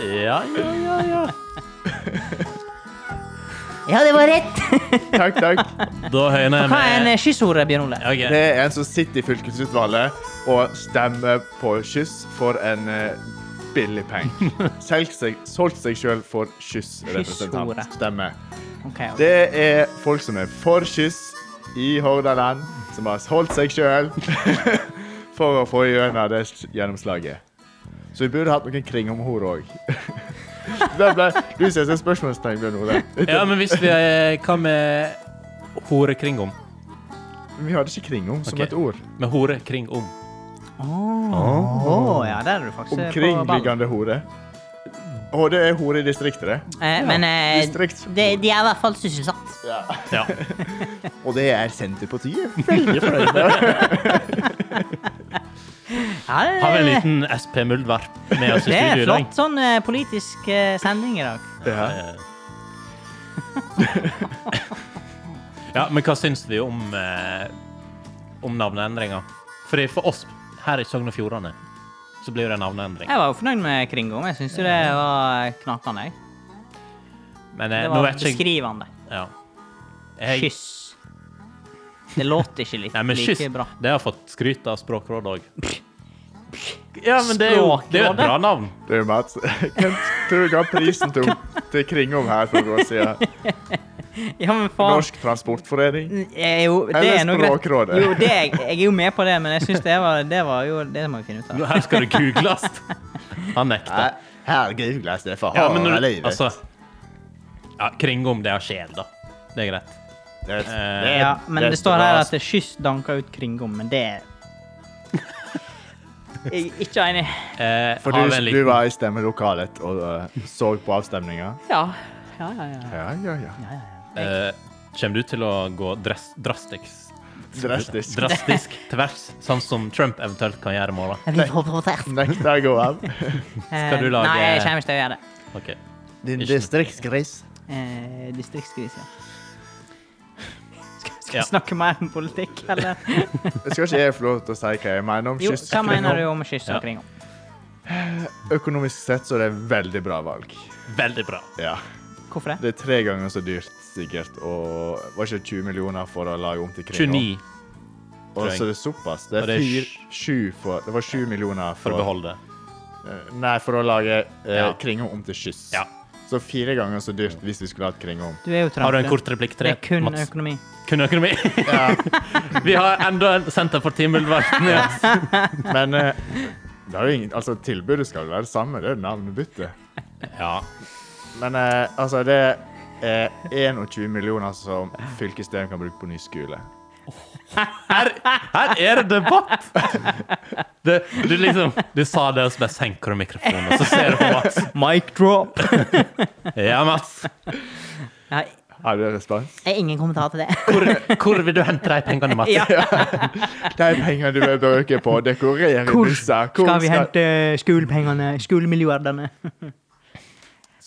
Speaker 3: Ja, ja, ja, ja.
Speaker 2: Ja, det var rett!
Speaker 1: Takk, takk.
Speaker 3: Da høyner jeg
Speaker 2: Hva er en
Speaker 3: med
Speaker 2: eh, kyssordet, Bjørn Ole?
Speaker 3: Ok.
Speaker 1: Det er en som sitter i fylkesutvalget og stemmer på kyss for en eh, billig penge. Solgt seg, solgt seg sjøl for
Speaker 2: Kyssordet.
Speaker 1: kyssrepresentant. Stemmer.
Speaker 2: Ok, ok.
Speaker 1: Det er folk som er for kyss i Hordaland, som har holdt seg sjøl for å få gjennom det gjennomslaget. Så vi burde hatt noen kring om hor òg. Du ser som spørsmålstegn, Bjørn Ole.
Speaker 3: Ja, men hvis vi eh, Hva med hore kring om?
Speaker 1: Vi hadde ikke kring om som
Speaker 3: Ok.
Speaker 1: et ord.
Speaker 3: Med hore kring om.
Speaker 2: Åh, ja, der er du faktisk eh, på ballen.
Speaker 1: Omkringliggende hore. Å, det er hore i distriktet, det.
Speaker 2: Eh, men eh,
Speaker 1: Distrikts-
Speaker 2: de, de er i hvert fall sysselsatt.
Speaker 3: Ja.
Speaker 1: Og det er Senterpartiet.
Speaker 2: Ja, det,
Speaker 3: Har vi en liten SP Muldvarp med oss i
Speaker 2: det er
Speaker 3: studio i dag? Eh.
Speaker 2: flott sånn eh, politisk eh, sending i dag.
Speaker 1: Ja.
Speaker 3: ja, men hva syns vi om, eh, om navneendringa? Fordi for oss her i Sogn og Fjordane så blir det navneendring.
Speaker 2: Jeg var jo fornøyd med Kringom. Jeg syns jo det var knakende. jeg.
Speaker 3: Men
Speaker 2: Det
Speaker 3: eh, nå
Speaker 2: var
Speaker 3: vet ikke jeg
Speaker 2: beskrivende.
Speaker 3: ja. jeg,
Speaker 2: Kyss. Det låter ikke litt
Speaker 3: Nei, men kyss,
Speaker 2: like bra.
Speaker 3: det har fått skryt av Språkrådet òg. Ja, men det er jo det er jo et
Speaker 2: Språkrådet?
Speaker 3: bra navn.
Speaker 1: Du, Mats, hvem tror du ga prisen til, til Kringom her for noen år siden?
Speaker 2: Ja, men faen.
Speaker 1: Norsk Transportforening?
Speaker 2: Jeg er jo, det
Speaker 1: Eller
Speaker 2: er noe greit.
Speaker 1: Språkrådet.
Speaker 2: Jo, det, er- jeg er jo med på det, men jeg syns det, var- det var jo Det må vi finne ut av.
Speaker 3: Her skal det googles. Han nekter.
Speaker 1: Her googles det for
Speaker 3: Ja, men når, du- altså ja, Kringom, det har sjel, da. Det er greit. Eh,
Speaker 2: Ja, men det står her at kyss danker ut Kringom, men det er Jeg er ikke enig.
Speaker 3: eh,
Speaker 1: For
Speaker 3: har vi
Speaker 1: du,
Speaker 3: en
Speaker 1: du
Speaker 3: liten-
Speaker 1: var i stemmelokalet og eh, så på avstemninga?
Speaker 2: Ja. Ja, ja, ja.
Speaker 1: Ja, ja, ja.
Speaker 3: Eh, Kommer du til å gå dress, drastisk?
Speaker 1: Drastisk.
Speaker 3: Drastisk til verks, sånn som Trump eventuelt kan gjøre i morgen?
Speaker 2: Jeg blir provosert.
Speaker 1: Nekter jeg å gå av.
Speaker 2: Skal
Speaker 3: du lage-
Speaker 2: Eh, Nei, jeg kommer ikke til å gjøre det.
Speaker 3: Ok.
Speaker 1: Din
Speaker 3: Ikke-
Speaker 1: distriktsgris.
Speaker 2: Eh, Distriktsgris, ja. Skal skal vi
Speaker 3: Ja.
Speaker 2: snakke mer om politikk, eller?
Speaker 1: Skal ikke jeg få lov til å si hva jeg mener om
Speaker 2: Jo,
Speaker 1: kyst?
Speaker 2: hva mener du om kyss
Speaker 3: Ja.
Speaker 2: og kringom?
Speaker 1: Økonomisk sett så er det veldig bra valg.
Speaker 3: Veldig bra.
Speaker 1: Ja.
Speaker 2: Hvorfor det?
Speaker 1: Det er tre ganger så dyrt, sikkert. Og var ikke 20 millioner for å lage om til kring?
Speaker 3: 29
Speaker 1: Og så er det såpass. Det
Speaker 3: Og
Speaker 1: er
Speaker 3: det er
Speaker 1: fyr,
Speaker 3: sj-
Speaker 1: sju for Det var sju millioner
Speaker 3: for å beholde det.
Speaker 1: Eh, Nei, for å lage eh,
Speaker 3: Ja.
Speaker 1: kringom om til kyss.
Speaker 3: Ja.
Speaker 1: Så fire ganger så dyrt hvis vi skulle hatt kringom.
Speaker 2: Du er jo Trump.
Speaker 3: Har du en
Speaker 2: det.
Speaker 3: kort replikk til
Speaker 2: Det
Speaker 3: det?
Speaker 2: er kun
Speaker 3: Mats?
Speaker 2: økonomi.
Speaker 3: Kun økonomi?
Speaker 1: Ja.
Speaker 3: Vi har enda en senter for timeulverten i oss.
Speaker 1: Men eh, det er jo ingen, altså, tilbudet skal jo være det samme, det er navnebytte.
Speaker 3: Ja.
Speaker 1: Men eh, altså, det er 21 millioner som fylkesdelen kan bruke på ny skole.
Speaker 3: Her, her er det debatt! Det, du liksom Du sa det, og så bare senker du mikrofonen, og så ser du på Mats.
Speaker 2: Mic drop.
Speaker 3: Ja, Mats.
Speaker 2: Jeg har-
Speaker 1: Har du respons?
Speaker 2: jeg har ingen kommentar til det.
Speaker 3: Hvor, hvor vil du hente de pengene, Mats?
Speaker 2: Ja.
Speaker 1: De pengene du vil bruke på å dekorere
Speaker 2: Hvor
Speaker 1: busser
Speaker 2: skal vi hente eh, skolepengene, skolemilliardene?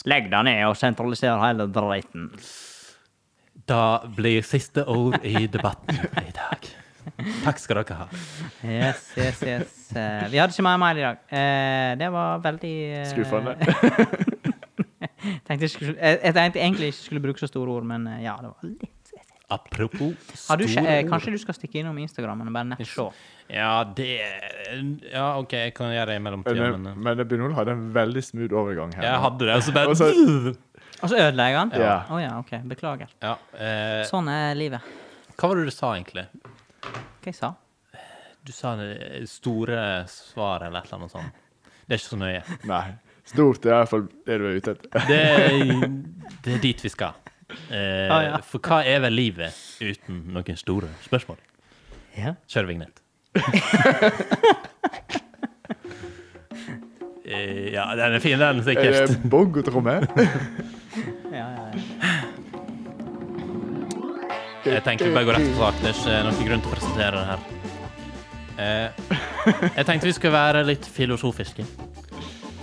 Speaker 2: Legg deg ned og sentraliser hele driten.
Speaker 3: Da blir siste ord i debatten i dag. Takk skal dere ha.
Speaker 2: Yes, yes, yes. Eh, vi hadde ikke mer mail i dag. Eh, det var veldig eh,
Speaker 1: Skuffende.
Speaker 2: tenkte jeg, skulle, jeg, jeg tenkte egentlig ikke skulle bruke så store ord, men eh, ja, det var litt
Speaker 3: Apropos
Speaker 2: Har du ikke, eh,
Speaker 3: store ord.
Speaker 2: Kanskje du skal stikke innom Instagrammen og bare nettsjå?
Speaker 3: Ja, det Ja, OK, jeg kan gjøre det i mellomtida,
Speaker 1: Men, eh,
Speaker 3: men eh,
Speaker 1: men det begynner å ha en veldig smooth overgang her.
Speaker 3: Jeg
Speaker 1: nå.
Speaker 3: hadde det, og så bare
Speaker 1: Og så-
Speaker 2: Og så ødela jeg den? Å ja.
Speaker 1: Ja.
Speaker 2: OK. Beklager.
Speaker 3: Ja, eh,
Speaker 2: Sånn er livet.
Speaker 3: hva var det du sa, egentlig?
Speaker 2: Hva jeg sa
Speaker 3: Du sa det store svar eller et eller annet sånt. Det er ikke så nøye.
Speaker 1: Nei. Stort er i hvert fall det du er ute etter.
Speaker 3: Det er, det er dit vi skal. Eh,
Speaker 2: Ja, ja.
Speaker 3: For hva er vel livet uten noen store spørsmål?
Speaker 2: Ja.
Speaker 3: Kjør vignett. Eh, ja, den er fin, den,
Speaker 1: Er
Speaker 3: sikkert.
Speaker 1: Eh, det bongotromme?
Speaker 2: ja, ja, ja.
Speaker 3: Jeg tenker vi bare går rett på sak. Det er ikke noen grunn til å presentere det her. Eh, jeg tenkte vi skulle være litt filosofiske.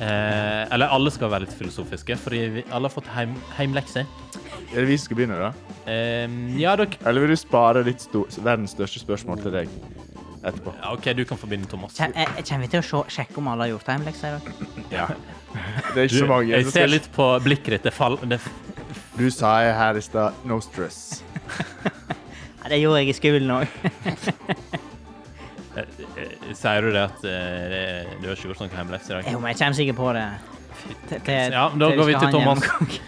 Speaker 3: Eh, eller alle skal være litt filosofiske, fordi vi alle har fått heim, heimlekser.
Speaker 1: Er det vi som skal begynne, da?
Speaker 3: Eh, ja, dere
Speaker 1: Eller vil du spare ditt sto- verdens største spørsmål til deg etterpå?
Speaker 3: Ja, OK, du kan få begynne, Thomas.
Speaker 2: Kjem- eh, Kommer vi til å sjå, sjekke om alle har gjort hjemmelekser i dag?
Speaker 1: Ja. Det er ikke
Speaker 3: Du,
Speaker 1: så mange.
Speaker 3: jeg
Speaker 1: Du,
Speaker 3: ser
Speaker 1: skal-
Speaker 3: litt på blikket ditt. Det fall, det,
Speaker 1: du sa jeg her i stad no stress.
Speaker 2: Nei, det gjorde jeg i skolen òg.
Speaker 3: eh, eh, sier du det at eh, det- du har ikke gjort noen hjemmelekser i dag?
Speaker 2: Jo, men jeg kommer sikkert på det. Til- til-
Speaker 3: Ja, men da
Speaker 2: til vi
Speaker 3: går vi
Speaker 2: skal
Speaker 3: til
Speaker 2: ha en
Speaker 3: Thomas.
Speaker 2: gjennomgang.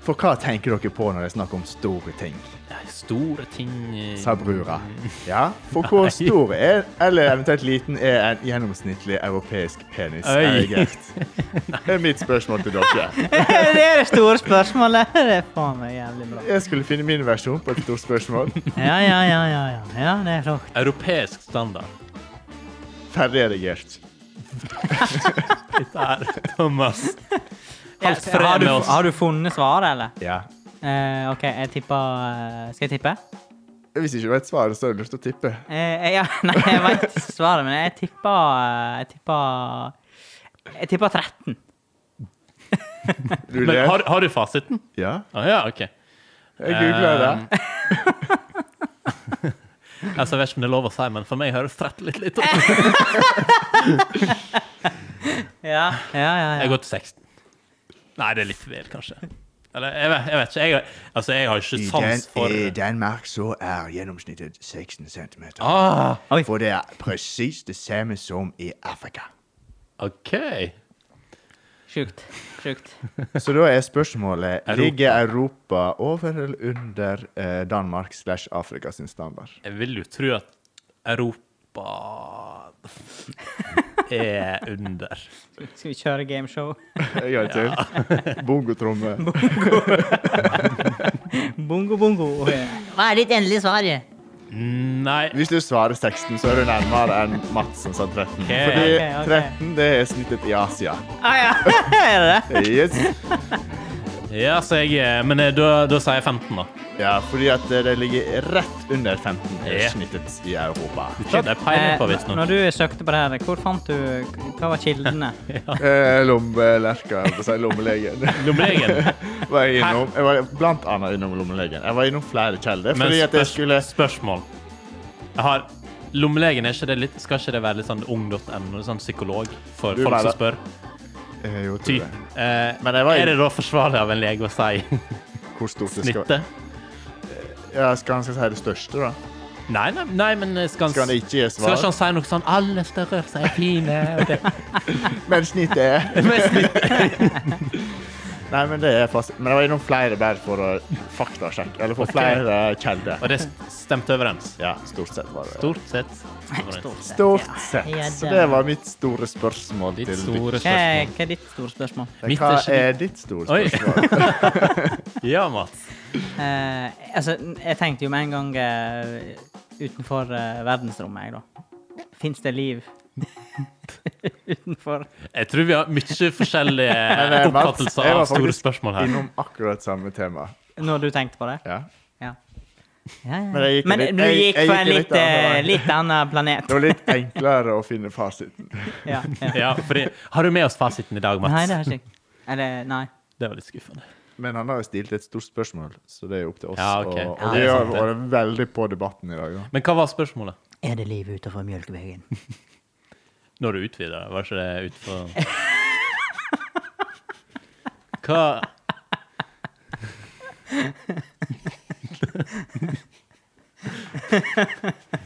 Speaker 1: For hva tenker dere på når jeg snakker om store ting?
Speaker 3: Nei, Store ting eh,
Speaker 1: Sa brura. Ja, for hvor stor er, eller eventuelt liten, er en gjennomsnittlig europeisk penis?
Speaker 3: Oi.
Speaker 1: erigert? Det er mitt spørsmål til dere.
Speaker 2: det er det store spørsmålet. Det er faen meg jævlig bra.
Speaker 1: Jeg skulle finne min versjon på et stort spørsmål.
Speaker 2: Ja, ja, ja, ja. ja. ja det er flott.
Speaker 3: Europeisk standard.
Speaker 1: Ferdig erigert.
Speaker 3: Dette er Thomas. Halvt
Speaker 2: Ja, har,
Speaker 3: fred
Speaker 2: du,
Speaker 3: med oss.
Speaker 2: har du funnet svaret, eller?
Speaker 1: Ja.
Speaker 2: Eh, OK, jeg tipper eh, Skal jeg tippe?
Speaker 1: Hvis ikke du vet svaret, så har du lyst til å tippe.
Speaker 2: Eh, ja, nei, jeg veit ikke svaret, men jeg tipper eh, Jeg tipper Jeg tipper 13.
Speaker 1: Du
Speaker 3: Men
Speaker 1: ler.
Speaker 3: har, har du Eh, fasiten?
Speaker 1: Ja,
Speaker 3: Å ja, OK.
Speaker 1: jeg googla det.
Speaker 3: Altså, jeg vet ikke om det er lov å si, men for meg høres 30 litt litt opp.
Speaker 2: Ja, ja, ja. ja.
Speaker 3: Jeg går til 16. Nei, det er litt vel, kanskje. Eller, jeg vet, jeg vet ikke. Jeg, altså, jeg har ikke sans for
Speaker 1: Danmark så er gjennomsnittet 16 cm.
Speaker 3: ah,
Speaker 1: For det er presis det samme som i Afrika.
Speaker 3: OK.
Speaker 2: Sjukt. Sjukt.
Speaker 1: Så da er spørsmålet
Speaker 3: Europa.
Speaker 1: Ligger Europa over eller under eh, Danmark slash Afrika sin standard?
Speaker 3: Jeg vil jo tro at Europa er under.
Speaker 2: Skal vi kjøre gameshow?
Speaker 1: En gang til. Bongotromme.
Speaker 2: Bongo, bongo. Hva er ditt endelige svar?
Speaker 3: Nei
Speaker 1: Hvis du svarer 16, så er du nærmere enn Mats som sa 13. Fordi
Speaker 2: ok, ok.
Speaker 1: 13 det er snittet i Asia.
Speaker 2: Ah, ja. er det det?
Speaker 1: Yes.
Speaker 3: Ja, så jeg, eh, men eh, da, da sier jeg 15, da.
Speaker 1: Ja, fordi at eh, det ligger rett under 15
Speaker 3: Ja.
Speaker 1: snittet i Europa.
Speaker 3: Det er peiling på,
Speaker 2: Eh,
Speaker 3: visstnok.
Speaker 2: når du søkte på det her, hvor fant du Hva var kildene?
Speaker 1: Eh, Lommelerka, jeg holdt på å si lommelegen.
Speaker 3: Lommelegen.
Speaker 1: var jeg, innom, jeg var blant annet innom lommelegen. Jeg var innom flere kjelder.
Speaker 3: Men
Speaker 1: Fordi at jeg
Speaker 3: spørs-
Speaker 1: skulle
Speaker 3: spørsmål. Jeg har Lommelegen, er ikke det litt, skal ikke det være litt sånn ung.no, sånn psykolog for
Speaker 1: Du
Speaker 3: folk
Speaker 1: mener-
Speaker 3: som spør?
Speaker 1: Eh, jo, tror
Speaker 3: Ty.
Speaker 1: jeg.
Speaker 3: Eh,
Speaker 1: Men jeg var
Speaker 3: er
Speaker 1: inn-
Speaker 3: det da forsvarlig av en lege å si
Speaker 1: Hvor stort det skal
Speaker 3: snittet?
Speaker 1: Ja, skal han skal si det største, da?
Speaker 3: Nei, nei, nei, men eh, skal han,
Speaker 1: Skal han ikke gi
Speaker 3: skal ikke
Speaker 1: svar?
Speaker 3: han si noe sånn 'Alle størrelser er fine'? og det-
Speaker 1: Men snittet er
Speaker 3: Men snitt-
Speaker 1: Nei, men det er fast. Men jeg var innom flere bare for å faktasjekke. Eller for
Speaker 3: Ok.
Speaker 1: flere kjelder.
Speaker 3: Og det stemte overens?
Speaker 1: Ja, stort sett var det.
Speaker 3: Stort sett.
Speaker 2: Stort sett.
Speaker 1: Stort
Speaker 2: ja.
Speaker 1: sett.
Speaker 2: Ja,
Speaker 1: Så
Speaker 2: da.
Speaker 1: det var mitt store spørsmål
Speaker 3: Ditt
Speaker 1: til
Speaker 3: store
Speaker 2: Hva er,
Speaker 3: spørsmål.
Speaker 2: hva er ditt store spørsmål?
Speaker 3: Mitt
Speaker 1: Hva
Speaker 3: er ikke
Speaker 1: er ditt store
Speaker 3: Oi.
Speaker 1: spørsmål?
Speaker 3: Ja, Mats.
Speaker 2: Eh, altså, jeg tenkte jo med en gang eh, utenfor eh, verdensrommet, jeg, da. Fins det liv utenfor
Speaker 3: Jeg tror vi har mye
Speaker 1: Men,
Speaker 3: forskjellige
Speaker 1: eh, Mats,
Speaker 3: oppfattelser
Speaker 1: jeg var
Speaker 3: av store
Speaker 1: faktisk
Speaker 3: spørsmål her.
Speaker 1: Innom akkurat samme tema.
Speaker 2: Når du tenkte på det?
Speaker 1: Ja.
Speaker 2: Ja. ja, ja.
Speaker 1: Men jeg gikk
Speaker 2: Men
Speaker 1: litt-
Speaker 2: du
Speaker 1: jeg-
Speaker 2: gikk
Speaker 1: jeg
Speaker 2: på
Speaker 1: gikk
Speaker 2: en
Speaker 1: litt
Speaker 2: litt,
Speaker 1: annen
Speaker 2: eh,
Speaker 1: vei.
Speaker 2: litt annen planet.
Speaker 1: Det var litt enklere å finne fasiten.
Speaker 2: Ja, ja.
Speaker 3: Ja, fordi, har du med oss fasiten i dag, Mats?
Speaker 2: Nei, det har jeg ikke. Eller, nei.
Speaker 3: Det var litt skuffende.
Speaker 1: Men han har jo stilt et stort spørsmål, så det er jo opp til oss.
Speaker 3: Ja,
Speaker 1: Og,
Speaker 3: ok. Ja,
Speaker 1: og
Speaker 3: det
Speaker 1: vi
Speaker 3: er
Speaker 1: har
Speaker 3: sant, det.
Speaker 1: vært veldig på debatten i dag. Da.
Speaker 3: Men hva var spørsmålet?
Speaker 2: Er det liv utenfor mjølkeveggen?
Speaker 3: Når du utvider, var ikke det utenfor Hva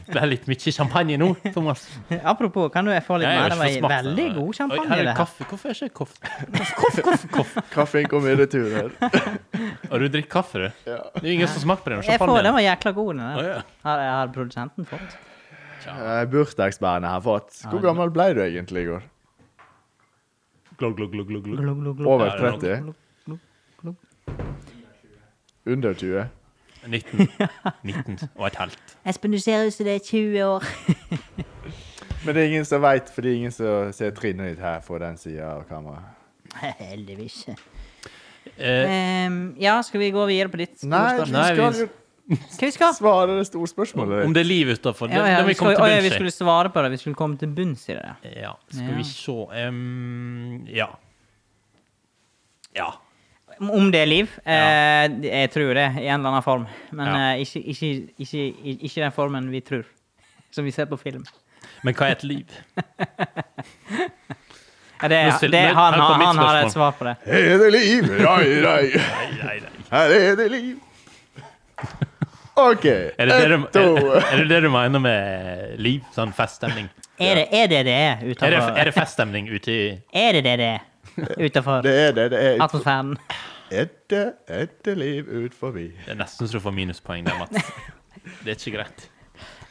Speaker 3: Det er litt mye champagne nå, Thomas.
Speaker 2: Apropos, kan du få litt
Speaker 3: Jeg
Speaker 2: mer? Det
Speaker 3: har ikke
Speaker 2: var
Speaker 3: smakt den.
Speaker 2: veldig god
Speaker 3: Oi, her
Speaker 2: champagne,
Speaker 3: er
Speaker 2: det her.
Speaker 3: Kaffe. Hvorfor er ikke koff? Koff, koff, koff, koff.
Speaker 1: Kaffen kom i retur her.
Speaker 3: Og du drikker kaffe, du?
Speaker 1: Ja.
Speaker 3: Det er jo ingen som smaker på den.
Speaker 2: Jeg får, den
Speaker 3: Champagne.
Speaker 2: var jækla god, den
Speaker 3: Å,
Speaker 2: der.
Speaker 3: ja.
Speaker 2: Har, har produsenten fått?
Speaker 1: Eh, Bursdagsbarnet har fått. Hvor gammel ble du egentlig i går?
Speaker 3: Glugg, glugg, glugg, glugg, glugg.
Speaker 2: Glug, glug, glug.
Speaker 1: Over
Speaker 3: Ja, det er
Speaker 1: 30?
Speaker 2: nok. Glug, glug,
Speaker 1: Under 20?
Speaker 3: 19. 19 og et halvt.
Speaker 2: Espen, du ser ut som det er 20 år.
Speaker 1: Men det er ingen som veit, for det er ingen som ser trinnet ditt her på den sida av kameraet.
Speaker 2: Heldigvis.
Speaker 3: Eh,
Speaker 2: Ehm, ja, skal vi gå videre på ditt
Speaker 1: Nei,
Speaker 2: store
Speaker 1: vi
Speaker 3: Nei,
Speaker 1: skal jo
Speaker 3: vi-
Speaker 2: spørsmål? Hva vi skal?
Speaker 1: svare det store spørsmålet.
Speaker 3: om det er liv utafor, det,
Speaker 2: Ja, ja,
Speaker 3: det
Speaker 2: vi,
Speaker 3: må vi komme
Speaker 2: skal,
Speaker 3: til
Speaker 2: å, ja, vi
Speaker 3: bunns i.
Speaker 2: skulle svare på det. Vi skulle komme til bunns i det.
Speaker 3: Ja, skal
Speaker 2: Ja.
Speaker 3: vi se um, Ja. Ja.
Speaker 2: Om- Om det er liv?
Speaker 3: Ja.
Speaker 2: Eh, jeg tror det, i en eller annen form. Men
Speaker 3: Ja.
Speaker 2: eh, ikke, ikke, ikke, i- ikke den formen vi tror. Som vi ser på film.
Speaker 3: Men hva er et liv?
Speaker 2: Ja, det,
Speaker 3: Men still-
Speaker 2: det,
Speaker 3: men
Speaker 2: han,
Speaker 3: her kom
Speaker 2: han,
Speaker 3: mitt
Speaker 2: har
Speaker 3: spørsmål.
Speaker 2: et svar på det.
Speaker 1: Her er det liv! Rai, rai.
Speaker 3: Nei, nei, nei.
Speaker 1: Her er det liv! OK.
Speaker 3: Er det det,
Speaker 1: ett,
Speaker 3: du,
Speaker 1: to
Speaker 3: er, er det det du mener med liv? Sånn feststemning?
Speaker 2: Er det er det det er
Speaker 3: Er det,
Speaker 2: utenfor
Speaker 3: er det feststemning ute i
Speaker 2: Er det det det er utenfor
Speaker 1: Det er det. Det er
Speaker 3: Altså-
Speaker 1: ut-
Speaker 2: atmosfæren?
Speaker 1: et, et liv ut forbi.
Speaker 3: Det er nesten så du får minuspoeng der, Mats. Det er ikke greit.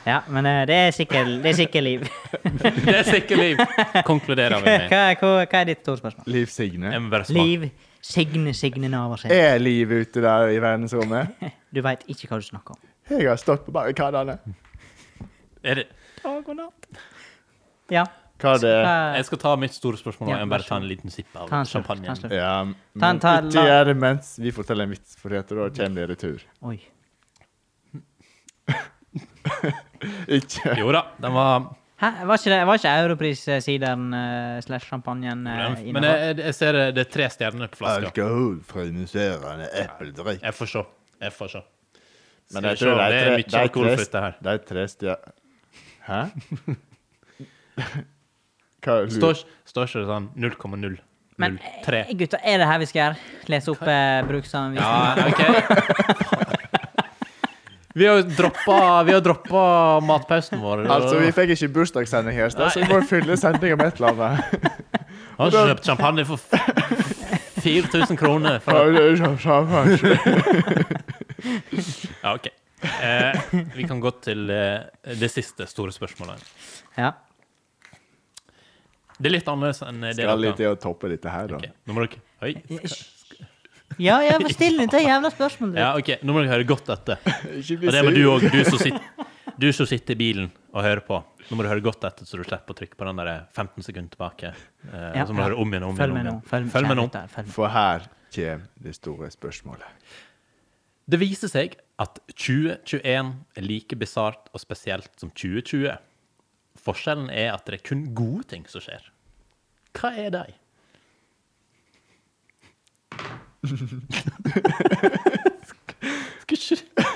Speaker 2: Ja, men eh, det er sikkert, det er sikkert liv.
Speaker 3: Det er sikkert liv, konkluderer vi med.
Speaker 2: Hva, hva, hva er ditt store spørsmål?
Speaker 1: Liv Signe.
Speaker 3: Jeg må bare smake.
Speaker 2: Liv Signe Signe Navarsete.
Speaker 1: Er liv ute der i verdensrommet?
Speaker 2: Du veit ikke hva du snakker om.
Speaker 1: Jeg har stått på barrikadene.
Speaker 3: Er det,
Speaker 2: Ja. Eh,
Speaker 1: Hva er det?
Speaker 2: Hva-
Speaker 3: jeg skal ta mitt store spørsmål,
Speaker 2: Ja,
Speaker 3: og jeg må bare ta en liten sipp av
Speaker 2: Ta en slurk, ta
Speaker 3: champagnen.
Speaker 2: en slurk.
Speaker 1: Ja,
Speaker 2: Ta
Speaker 1: men
Speaker 2: en- ta en
Speaker 1: ikke
Speaker 2: lang-
Speaker 1: gjør det mens vi forteller en vits, for da kommer det i retur.
Speaker 2: Oi.
Speaker 1: Ikke
Speaker 3: Jo da, den var
Speaker 2: Hæ? Var ikke, det- var ikke Europris-sideren eh, slash champagnen uh,
Speaker 3: Men eh, jeg, jeg- jeg ser det, det er tre stjerner på flaska.
Speaker 1: alkoholfrimuserende epledrikk.
Speaker 3: Jeg får se. Jeg får se.
Speaker 1: Men
Speaker 3: Skal
Speaker 1: jeg tror
Speaker 3: vi se,
Speaker 1: de tre-
Speaker 3: det er mye
Speaker 1: de tre-
Speaker 3: alkoholfritt, det her.
Speaker 1: De tre stjer... Hæ? Hva lurer
Speaker 3: Står, står ikke det sånn 0,0?
Speaker 2: Men
Speaker 3: 03?
Speaker 2: eh, gutta, er det her vi skal gjøre? Lese opp eh, bruksanvisningen?
Speaker 3: Ja, OK. Vi har jo droppa- vi har droppa matpausen vår.
Speaker 1: Altså, vi fikk ikke bursdagssending her, så vi må fylle sendinga med et eller annet.
Speaker 3: Har ikke kjøpt champagne for f- 4000 kroner. For, ja, OK. Eh, vi kan gå til eh, det siste store spørsmålet.
Speaker 2: Ja.
Speaker 3: Det er litt annerledes enn det
Speaker 1: Skal litt
Speaker 3: dere
Speaker 1: til å toppe dette her, da.
Speaker 3: Ok, Nå må dere Oi.
Speaker 2: Ja, ja, vær stille til det jævla spørsmålet.
Speaker 3: Ja, OK. Nå må dere høre godt etter.
Speaker 1: Ikke
Speaker 3: Og
Speaker 1: bli
Speaker 3: det må du
Speaker 1: sur.
Speaker 3: òg, du, som sit- du som sitter i bilen og hører på. Nå må du høre godt etter, så du slipper å trykke på den der 15 sekunder tilbake. Eh,
Speaker 2: Ja.
Speaker 3: så må du høre om igjen og om igjen.
Speaker 2: Følg
Speaker 3: om
Speaker 2: med nå.
Speaker 3: igjen. Følg med nå.
Speaker 2: kjære lytter, følg med.
Speaker 1: For her kommer det store spørsmålet.
Speaker 3: Det viser seg at 2021 er like bisart og spesielt som 2020. Forskjellen er at det er kun gode ting som skjer. Hva er de? Skal ikke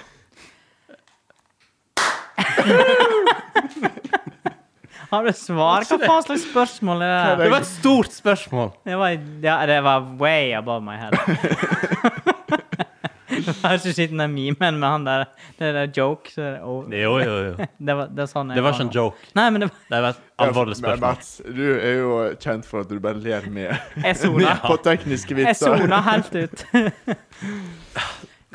Speaker 2: Har du svar? Hva faen slags spørsmål er
Speaker 3: Det
Speaker 2: det?
Speaker 3: var et stort spørsmål.
Speaker 2: Det var, ja, det var way above my head. Jeg har ikke sett den der memen med han der Det der joke. Så det, oh,
Speaker 3: Jo, jo, jo.
Speaker 2: det, var, det, er sånn jeg
Speaker 3: Det var
Speaker 2: har
Speaker 3: ikke en
Speaker 2: nå.
Speaker 3: joke.
Speaker 2: Nei, men det var,
Speaker 3: Det var et alvorlig
Speaker 1: Men
Speaker 3: spørsmål.
Speaker 1: Mats, du er jo kjent for at du bare ler med
Speaker 2: jeg sona.
Speaker 1: på tekniske
Speaker 2: Jeg
Speaker 1: vitser.
Speaker 2: sona helt ut.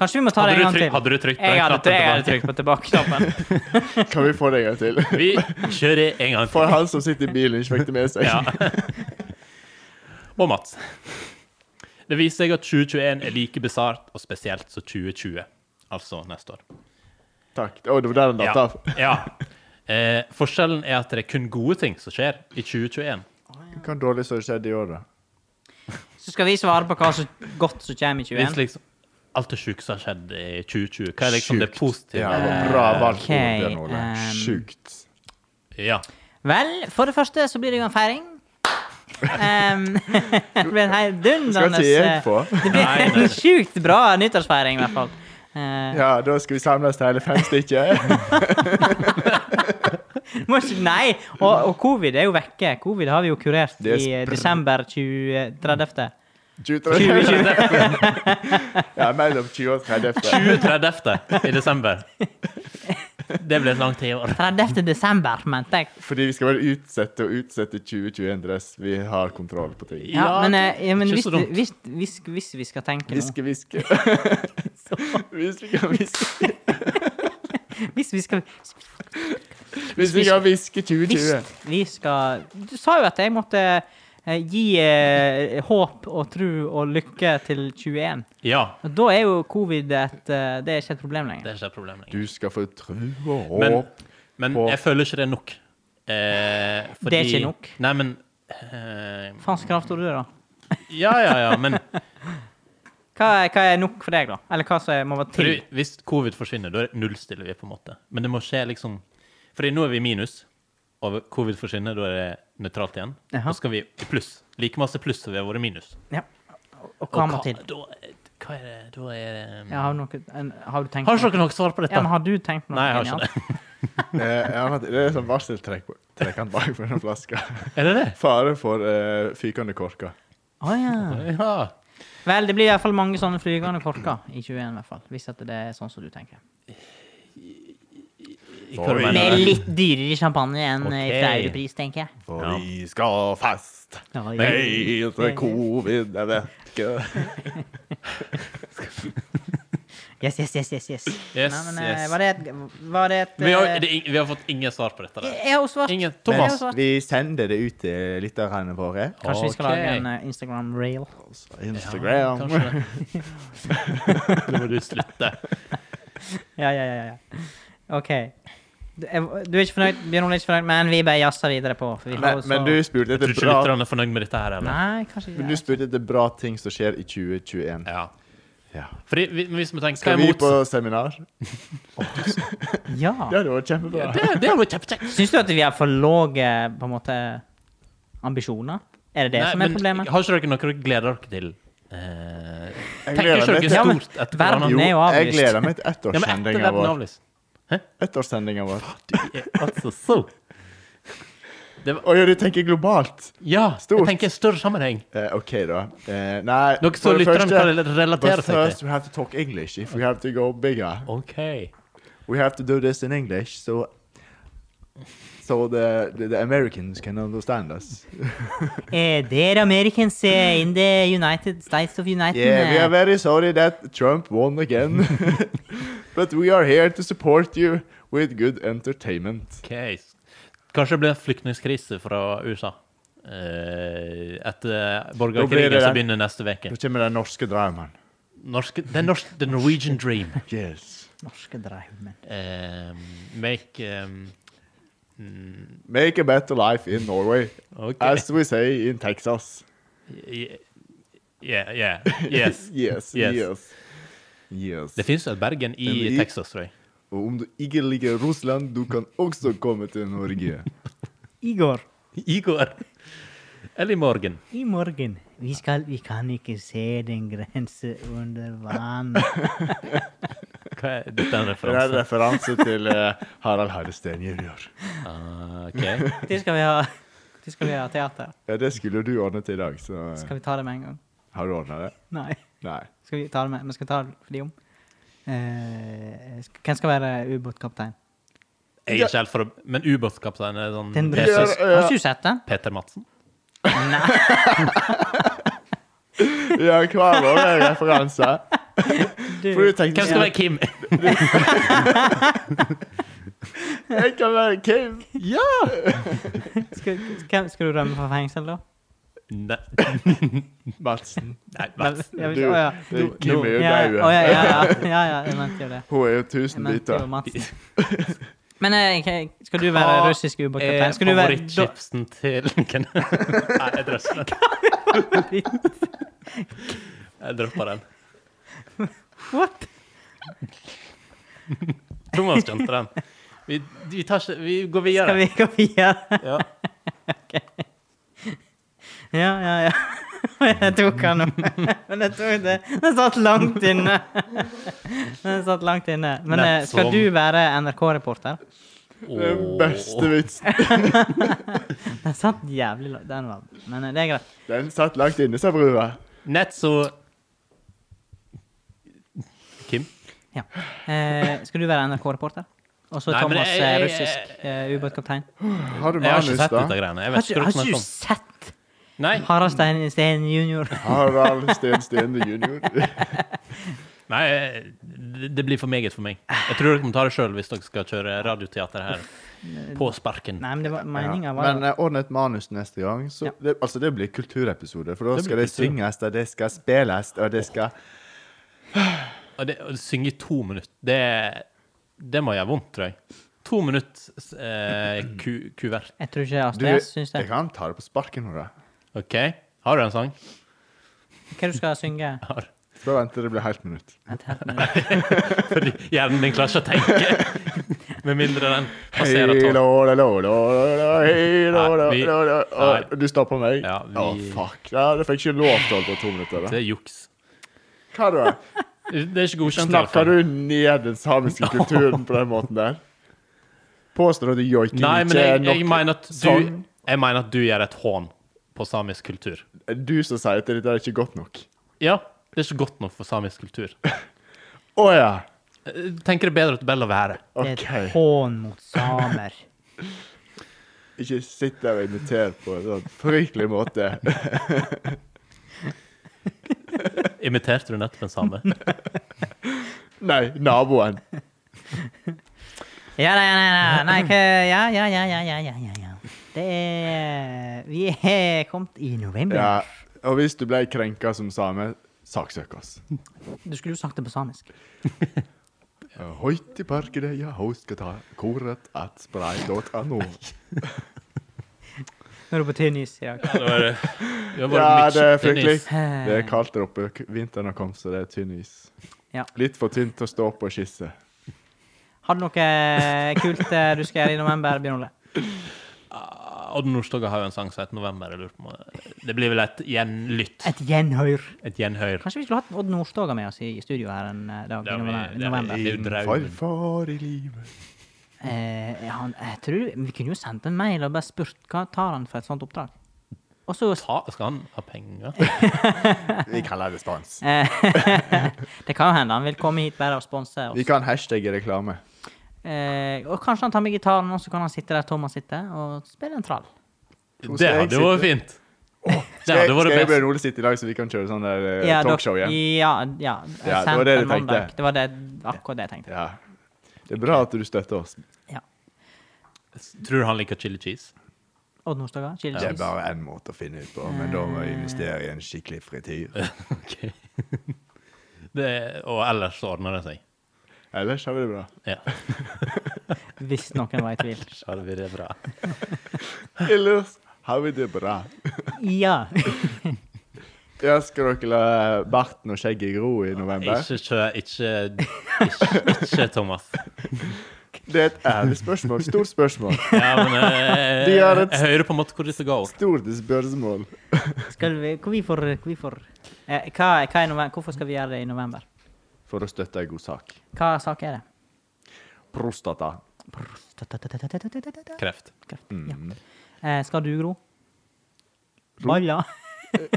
Speaker 2: Kanskje vi må ta det
Speaker 3: Hadde
Speaker 2: en
Speaker 3: du,
Speaker 2: gang
Speaker 3: tryk,
Speaker 2: til.
Speaker 3: hadde du trykt på
Speaker 2: Jeg
Speaker 3: den
Speaker 2: hadde, jeg hadde
Speaker 3: knappen tilbake?
Speaker 2: trykt på tilbake-knappen.
Speaker 1: Kan vi få det en gang til?
Speaker 3: Vi kjører en gang
Speaker 1: For
Speaker 3: til.
Speaker 1: han som sitter i bilen, ikke fikk det med seg.
Speaker 3: Ja. Og Mats. Det viser seg at 2021 er like bisart og spesielt som 2020. Altså neste år.
Speaker 1: Takk. Å, det var der han datt
Speaker 3: Ja.
Speaker 1: av.
Speaker 3: ja. Eh, forskjellen er at det er kun gode ting som skjer i 2021.
Speaker 1: Hva dårlig som skjedde i år, da?
Speaker 2: Så skal vi svare på hva som godt som kommer i
Speaker 3: Hvis
Speaker 2: 21.
Speaker 3: liksom alt det sjuke som har skjedd i 2020, hva er liksom det
Speaker 1: Sjukt.
Speaker 3: positive?
Speaker 1: Ja, det var bra valgt
Speaker 2: Ok,
Speaker 1: ord, Bjørn Ole.
Speaker 2: ehm.
Speaker 1: Sjukt.
Speaker 3: Ja.
Speaker 2: Vel, for det første så blir det jo en feiring. Um, det blir en
Speaker 1: Skal
Speaker 2: heidundrende
Speaker 1: ikke jeg få?
Speaker 2: Det blir en sjukt bra nyttårsfeiring, i hvert fall. Eh,
Speaker 1: Ja, da skal vi samles til hele fem stykker.
Speaker 2: må ikke, nei! Og, og covid er jo vekke. Covid har vi jo kurert
Speaker 1: Det er
Speaker 2: i eh,
Speaker 1: spr-
Speaker 2: desember 20, 30.
Speaker 1: 20. Ja, mellom 20 og 30.
Speaker 3: 20.30. i desember. Det ble et langt tiår.
Speaker 2: 30. desember, mente jeg.
Speaker 1: Fordi vi skal bare utsette og utsette 2021 dress. Vi har kontroll på ting.
Speaker 2: Ja,
Speaker 3: Ja,
Speaker 2: men, eh, ja, men
Speaker 3: ikke
Speaker 2: hvis,
Speaker 3: så dumt.
Speaker 2: hvis, hvis, hvis vi skal tenke nå
Speaker 1: Hviske, hviske. Hvis vi kan hviske
Speaker 2: Hvis vi skal
Speaker 1: Hvis vi kan hviske 2020.
Speaker 2: Hvis vi skal Du sa jo at jeg måtte eh, gi eh, håp og tro og lykke til 21.
Speaker 3: Ja,
Speaker 2: Og da er jo covid et eh, Det er ikke et problem lenger.
Speaker 3: det er ikke et problem lenger.
Speaker 1: Du skal få tro og
Speaker 3: Men,
Speaker 1: håp.
Speaker 3: men
Speaker 1: på-
Speaker 3: jeg føler ikke det er nok. Eh,
Speaker 2: Det er ikke nok.
Speaker 3: Nei, men eh,
Speaker 2: Faens kraft og du, da.
Speaker 3: Ja, ja, ja, men
Speaker 2: Hva er, hva er nok for deg, da? Eller hva som må være til?
Speaker 3: fordi, hvis covid forsvinner, da nullstiller vi på en måte. Men det må skje liksom Fordi nå er vi i minus, og covid forsvinner, da er det nøytralt igjen.
Speaker 2: Jaha.
Speaker 3: Nå skal vi i pluss. Like masse pluss som vi har vært i minus.
Speaker 2: Ja. Og hva må til?
Speaker 3: Da, hva er det, da er det
Speaker 2: Ja, har, du noe, en, har du tenkt
Speaker 3: Har ikke
Speaker 2: noe?
Speaker 3: dere noe svar på dette?
Speaker 2: Ja, men har du tenkt noe?
Speaker 3: Nei, jeg har ikke det.
Speaker 1: Eh, ja, men Det er sånn varseltrekk på- trekkant bak på den flaska.
Speaker 3: Er det det?
Speaker 1: Fare for eh, fykende korker.
Speaker 2: ja.
Speaker 3: Ja.
Speaker 2: Vel, det blir i hvert fall mange sånne flygende korker i 21, i hvert fall. Hvis at det er sånn som du tenker.
Speaker 3: Hva
Speaker 1: Oi.
Speaker 3: du mener?
Speaker 2: Med litt dyrere champagne enn okay.
Speaker 3: Ok.
Speaker 2: fra europris, tenker jeg.
Speaker 1: For
Speaker 3: Ja.
Speaker 1: vi skal fast
Speaker 2: Ja, ja.
Speaker 1: helt til covid er vekke.
Speaker 2: Yes, yes, yes. yes, yes.
Speaker 3: Yes,
Speaker 2: Nei, men, eh,
Speaker 3: yes.
Speaker 2: Var det et, var det et
Speaker 3: Vi har,
Speaker 2: eh,
Speaker 3: det, er ing- vi har fått ingen svar på dette.
Speaker 2: jeg,
Speaker 3: Der.
Speaker 2: jeg har jo svart.
Speaker 3: Ingen.
Speaker 2: Jeg har jo
Speaker 3: Thomas.
Speaker 2: svart.
Speaker 1: Vi sender det ut til lytterne våre.
Speaker 2: Kanskje vi skal
Speaker 3: Ok.
Speaker 2: lage en eh, Instagram-rail.
Speaker 1: Instagram.
Speaker 3: Ja, kanskje det. Nå må du slutte.
Speaker 2: Ja, ja, ja, ja. OK. Du er du er ikke fornøyd, Bjørn Ole er ikke fornøyd, men vi bare jazzer videre på. For vi har
Speaker 1: men,
Speaker 2: jo så...
Speaker 1: men du spurte
Speaker 3: Tror
Speaker 1: etter
Speaker 3: ikke
Speaker 1: bra
Speaker 3: lytterne er fornøyd med dette her, eller?
Speaker 2: Nei, kanskje
Speaker 1: men du
Speaker 2: ikke.
Speaker 1: spurte etter bra ting som skjer i 2021.
Speaker 3: Ja.
Speaker 1: Ja.
Speaker 3: Fordi vi, hvis vi tenker,
Speaker 1: Skal
Speaker 3: hva er
Speaker 1: vi
Speaker 3: mot...
Speaker 1: på seminar?
Speaker 2: Ja.
Speaker 1: Ja, det var kjempebra.
Speaker 3: Det, det hadde vært kjempekjekt.
Speaker 2: Syns du at vi har for lave på en måte, ambisjoner? Er det det som er problemet?
Speaker 3: har ikke dere noe dere gleder dere til? Eh,
Speaker 1: Jeg
Speaker 3: tenker ikke
Speaker 1: gleder meg
Speaker 3: dere
Speaker 1: til
Speaker 2: men
Speaker 3: stort etter
Speaker 2: verden-
Speaker 3: hverandre?
Speaker 1: Jo,
Speaker 2: Den er jo
Speaker 1: jeg
Speaker 2: avlyst.
Speaker 1: gleder meg til
Speaker 3: Ja, men etter
Speaker 1: ettårssendinga
Speaker 3: verden er
Speaker 1: vår.
Speaker 3: avlyst.
Speaker 1: Ettårssendinga vår.
Speaker 3: Du er altså så
Speaker 1: Å ja, du tenker globalt?
Speaker 3: Ja,
Speaker 1: Stort.
Speaker 3: jeg tenker en større sammenheng.
Speaker 1: Eh, OK, da. Eh, nei,
Speaker 3: Dere som lytter, kan relatere
Speaker 1: But
Speaker 3: seg
Speaker 1: first
Speaker 3: til.
Speaker 1: we have to talk English if we have to go bigger.
Speaker 3: OK.
Speaker 1: We have to do this in English so so the the, the Americans can understand us.
Speaker 2: Eh, Dear Americans eh, in the United States of United
Speaker 1: Yeah, we
Speaker 2: eh,
Speaker 1: are very sorry that Trump won again, but we are here to support you with good entertainment.
Speaker 3: ok. Kanskje det blir en flyktningkrise fra USA. Eh, etter
Speaker 1: blir
Speaker 3: borgerkrigen
Speaker 1: det
Speaker 3: som
Speaker 1: den.
Speaker 3: begynner neste uke.
Speaker 1: Nå kommer den norske drømmen.
Speaker 3: Norske, the, norsk, the Norwegian dream.
Speaker 1: Yes.
Speaker 2: Norske drømmen.
Speaker 3: Eh, make mm, um,
Speaker 1: Make a better life in Norway,
Speaker 3: OK.
Speaker 1: as we say in Texas.
Speaker 3: I- Yeah, yeah, yes.
Speaker 1: yes,
Speaker 3: Yes.
Speaker 1: yes. Yes.
Speaker 3: Det fins jo et Bergen i
Speaker 1: Men i-
Speaker 3: Texas, tror jeg.
Speaker 1: Og om du ikke liker Russland, du kan også komme til Norge.
Speaker 2: Igor,
Speaker 3: I går. Eller i morgen.
Speaker 2: i morgen Vi skal Vi kan ikke se den grense under vann.
Speaker 3: Hva er dette er en
Speaker 1: Det er en
Speaker 3: referanse?
Speaker 1: referanse til eh, Harald Harrestein jr.
Speaker 3: Ah, ok.
Speaker 2: Når skal vi ha Når skal vi ha teater?
Speaker 1: Ja, det skulle du ordnet i dag, så eh,
Speaker 2: Skal vi ta det med en gang?
Speaker 1: har du ordna det?
Speaker 2: Nei.
Speaker 1: Nei.
Speaker 2: Skal vi ta det med? Men skal vi ta det for de om? Eh, sk- hvem skal være ubåtkaptein?
Speaker 3: Jeg er ikke helt for å Men ubåtkaptein er sånn
Speaker 2: Den
Speaker 3: det er
Speaker 1: Ja,
Speaker 2: russiske
Speaker 3: sånn-
Speaker 1: ja.
Speaker 2: Har ikke du sett den?
Speaker 3: Peter Madsen.
Speaker 2: Nei.
Speaker 1: Ja, hva var det referanse? For du tenkte sånn,
Speaker 3: Hvem skal være Kim?
Speaker 1: Jeg kan være Kim! Ja!
Speaker 2: Skal, skal, skal du rømme fra fengsel, da?
Speaker 3: Nei, Eh,
Speaker 1: Madsen.
Speaker 3: nei Madsen.
Speaker 2: Jeg vet
Speaker 1: Du,
Speaker 2: ikke- å, ja.
Speaker 1: du, Kim er jo dau.
Speaker 2: Ja, ja, å, ja, ja, ja, ja, ja, jeg mente jo det.
Speaker 1: Hun er jo
Speaker 2: Jeg
Speaker 1: tusen
Speaker 2: mente jo
Speaker 1: biter.
Speaker 2: Madsen. Men eh, k- skal du være russisk ubåtkaptein? Skal du være do-
Speaker 3: favorittchipsen til Ken? Nei, jeg drøsser den. Jeg dropper den.
Speaker 2: What?
Speaker 3: Thomas skjønte den. Vi, vi, tar ikke, vi går videre.
Speaker 2: Skal vi gå videre?
Speaker 3: Ja.
Speaker 2: Ja, ja, ja. Jeg tok han nå. Men jeg tok det. Den satt langt inne. Den satt langt inne. Men eh, skal
Speaker 3: Nett som-
Speaker 2: du være NRK-reporter?
Speaker 1: Den beste vitsen.
Speaker 2: Den satt jævlig langt. Den var Men eh, det er greit.
Speaker 1: Den satt langt inne, sa brua.
Speaker 3: Nett så Kim?
Speaker 2: Ja. Eh, skal du være NRK-reporter? Og så
Speaker 3: Nei, men
Speaker 2: Thomas
Speaker 3: jeg-
Speaker 2: eh,
Speaker 3: jeg-
Speaker 2: russisk eh, ubåtkaptein.
Speaker 1: Har du
Speaker 3: Jeg har
Speaker 1: manus,
Speaker 3: ikke sett dette
Speaker 1: da?
Speaker 3: greiene. Jeg
Speaker 2: Har
Speaker 3: vet
Speaker 2: ikke
Speaker 3: ikke hva
Speaker 2: har
Speaker 3: du
Speaker 2: ikke
Speaker 3: snakker
Speaker 2: du
Speaker 3: om.
Speaker 2: sett
Speaker 3: Nei,
Speaker 2: Harald Stein Steen jr.?
Speaker 1: Harald Steen Steen jr.
Speaker 3: Nei eh, det- det blir for meget for meg. Jeg tror dere må ta det sjøl hvis dere skal kjøre radioteater her. På sparken.
Speaker 2: Nei, men det var meninga
Speaker 1: Ja.
Speaker 2: var
Speaker 1: Men eh, ordne et manus neste gang. Så
Speaker 2: Ja.
Speaker 1: det, altså, det blir kulturepisode. For da
Speaker 3: Det
Speaker 1: skal
Speaker 3: blir
Speaker 1: det
Speaker 3: kultur.
Speaker 1: synges, og det skal spilles, og det skal
Speaker 3: Og det, å synge i to minutter, det, det må gjøre vondt, tror jeg. To minutter eh, ku, kuvert.
Speaker 2: Jeg tror ikke
Speaker 1: eh, Du,
Speaker 2: Astrid S syns det.
Speaker 1: jeg kan ta det på sparken nå, da.
Speaker 3: OK? Har du en sang?
Speaker 2: Hva du skal synge?
Speaker 3: Har.
Speaker 1: Skal vente til det blir helt minutt.
Speaker 2: Et helt minutt.
Speaker 3: Fordi hjernen din klarer ikke å tenke. Med mindre den
Speaker 1: Hei,
Speaker 3: passerer
Speaker 1: lo,
Speaker 3: tolv.
Speaker 1: lo, lo, lo, lo, hei, lo, lo,
Speaker 3: Nei, vi-
Speaker 1: lo, lo. Å,
Speaker 3: nei.
Speaker 1: Du stopper meg?
Speaker 3: Ja,
Speaker 1: Å,
Speaker 3: vi-
Speaker 1: fuck. Ja, du fikk ikke lov til å holde på to minutter.
Speaker 3: Det
Speaker 1: da.
Speaker 3: er juks.
Speaker 1: Hva da?
Speaker 3: Det er ikke godkjent. i hvert fall.
Speaker 1: Snakker du ned den samiske kulturen på den måten der? Påstår du at joiking
Speaker 3: Nei, men
Speaker 1: ikke
Speaker 3: jeg,
Speaker 1: er
Speaker 3: jeg,
Speaker 1: nok
Speaker 3: mener at du,
Speaker 1: sang?
Speaker 3: jeg mener at du gjør et hån på samisk kultur.
Speaker 1: Du som sier at dette er ikke godt nok.
Speaker 3: Ja, det er ikke godt nok for samisk kultur.
Speaker 1: Å ja.
Speaker 3: Jeg tenker det er bedre at Bella være.
Speaker 2: Det
Speaker 1: OK.
Speaker 2: er et hån mot samer.
Speaker 1: Ikke sitt der og imiter på en sånn fryktelig måte.
Speaker 3: Imiterte du nettopp en same?
Speaker 1: Nei, naboen.
Speaker 2: Ja, nei, nei, nei, nei, ikke, ja, ja, ja, ja, ja, ja, ja, ja. Det er Vi er kommet i november.
Speaker 1: Ja. Og hvis du ble krenka som same, saksøk oss.
Speaker 2: Du skulle jo sagt det på samisk.
Speaker 1: Høyt Eh, i parkede, ja, skal ta koret at spray.no.
Speaker 2: Nå er du på tynn is i dag.
Speaker 3: Ja, det var, det
Speaker 1: Ja,
Speaker 3: var mye
Speaker 1: det er
Speaker 3: tynn
Speaker 1: fryktelig.
Speaker 3: is.
Speaker 1: Det er kaldt der oppe. K- Vinteren har kommet, så det er tynn is.
Speaker 2: Ja.
Speaker 1: Litt for tynt til å stå på og skisse.
Speaker 2: Har du noe kult eh, du skal gjøre i november, Bjørn Ole?
Speaker 3: Odd Nordstoga har jo en sang som heter 'November'. Jeg lurer på om det blir vel et gjenlytt.
Speaker 2: Et gjenhør.
Speaker 3: Et gjenhør.
Speaker 2: Kanskje vi skulle hatt Odd Nordstoga med oss i i studio her en eh, dag
Speaker 3: Det
Speaker 2: i
Speaker 3: er-
Speaker 2: november-
Speaker 3: det er-
Speaker 2: november?
Speaker 3: det er jo draumen.
Speaker 1: Farfar i livet.
Speaker 2: Eh, han, jeg tror, vi kunne jo sendt en mail og bare spurt hva tar han for et sånt oppdrag. Og så
Speaker 3: Ta, skal han ha penger?
Speaker 1: Vi kaller det spons.
Speaker 2: Eh, Det kan jo hende han vil komme hit bare og sponse oss.
Speaker 1: Vi kan hashtagge reklame.
Speaker 2: Eh, og kanskje han tar med gitaren, og så kan han sitte der Thomas sitter, og spille en trall.
Speaker 3: Det hadde jo vært fint. Det
Speaker 1: Skal
Speaker 3: hadde
Speaker 1: jeg
Speaker 3: vært
Speaker 1: og
Speaker 3: best.
Speaker 1: Bjørn Ole sitte i dag, så vi kan kjøre sånn der eh,
Speaker 2: Ja,
Speaker 1: talkshow
Speaker 2: dere-
Speaker 1: igjen?
Speaker 2: Ja, ja.
Speaker 1: Ja, det var det du
Speaker 2: Sendt på mandag.
Speaker 1: tenkte.
Speaker 2: Det var det, akkurat det jeg tenkte.
Speaker 1: Ja. Det er bra at du støtter oss.
Speaker 2: Ja.
Speaker 3: Tror du han liker chili cheese?
Speaker 2: Odd Nordstoga, chili
Speaker 1: Det er
Speaker 2: cheese.
Speaker 1: bare én måte å finne ut på, men da må vi investere i en skikkelig frityr.
Speaker 3: Ok. Det, og ellers så ordner det seg.
Speaker 1: Ellers har vi det bra.
Speaker 3: Ja.
Speaker 2: Hvis noen var i tvil.
Speaker 3: Så hadde vi det bra.
Speaker 1: Ellers har vi det bra.
Speaker 2: Ja.
Speaker 1: Ja, skal dere la barten og skjegget gro i november?
Speaker 3: Ikke kjør ikke, ikke, ikke Thomas.
Speaker 1: Det er et ærlig spørsmål. Stort spørsmål.
Speaker 3: Ja, men eh,
Speaker 1: De gjør et-
Speaker 3: Jeg hører på en måte hvor det skal gå.
Speaker 1: Stort spørsmål.
Speaker 2: Skal vi, hvorfor hvorfor, eh, hva, hva er november, hvorfor skal vi gjøre det i november?
Speaker 1: For å støtte ei god sak.
Speaker 2: Hva sak er det?
Speaker 1: Prostata.
Speaker 3: Kreft.
Speaker 2: Kreft.
Speaker 1: Mm.
Speaker 2: Ja. Eh, skal du gro? Baller?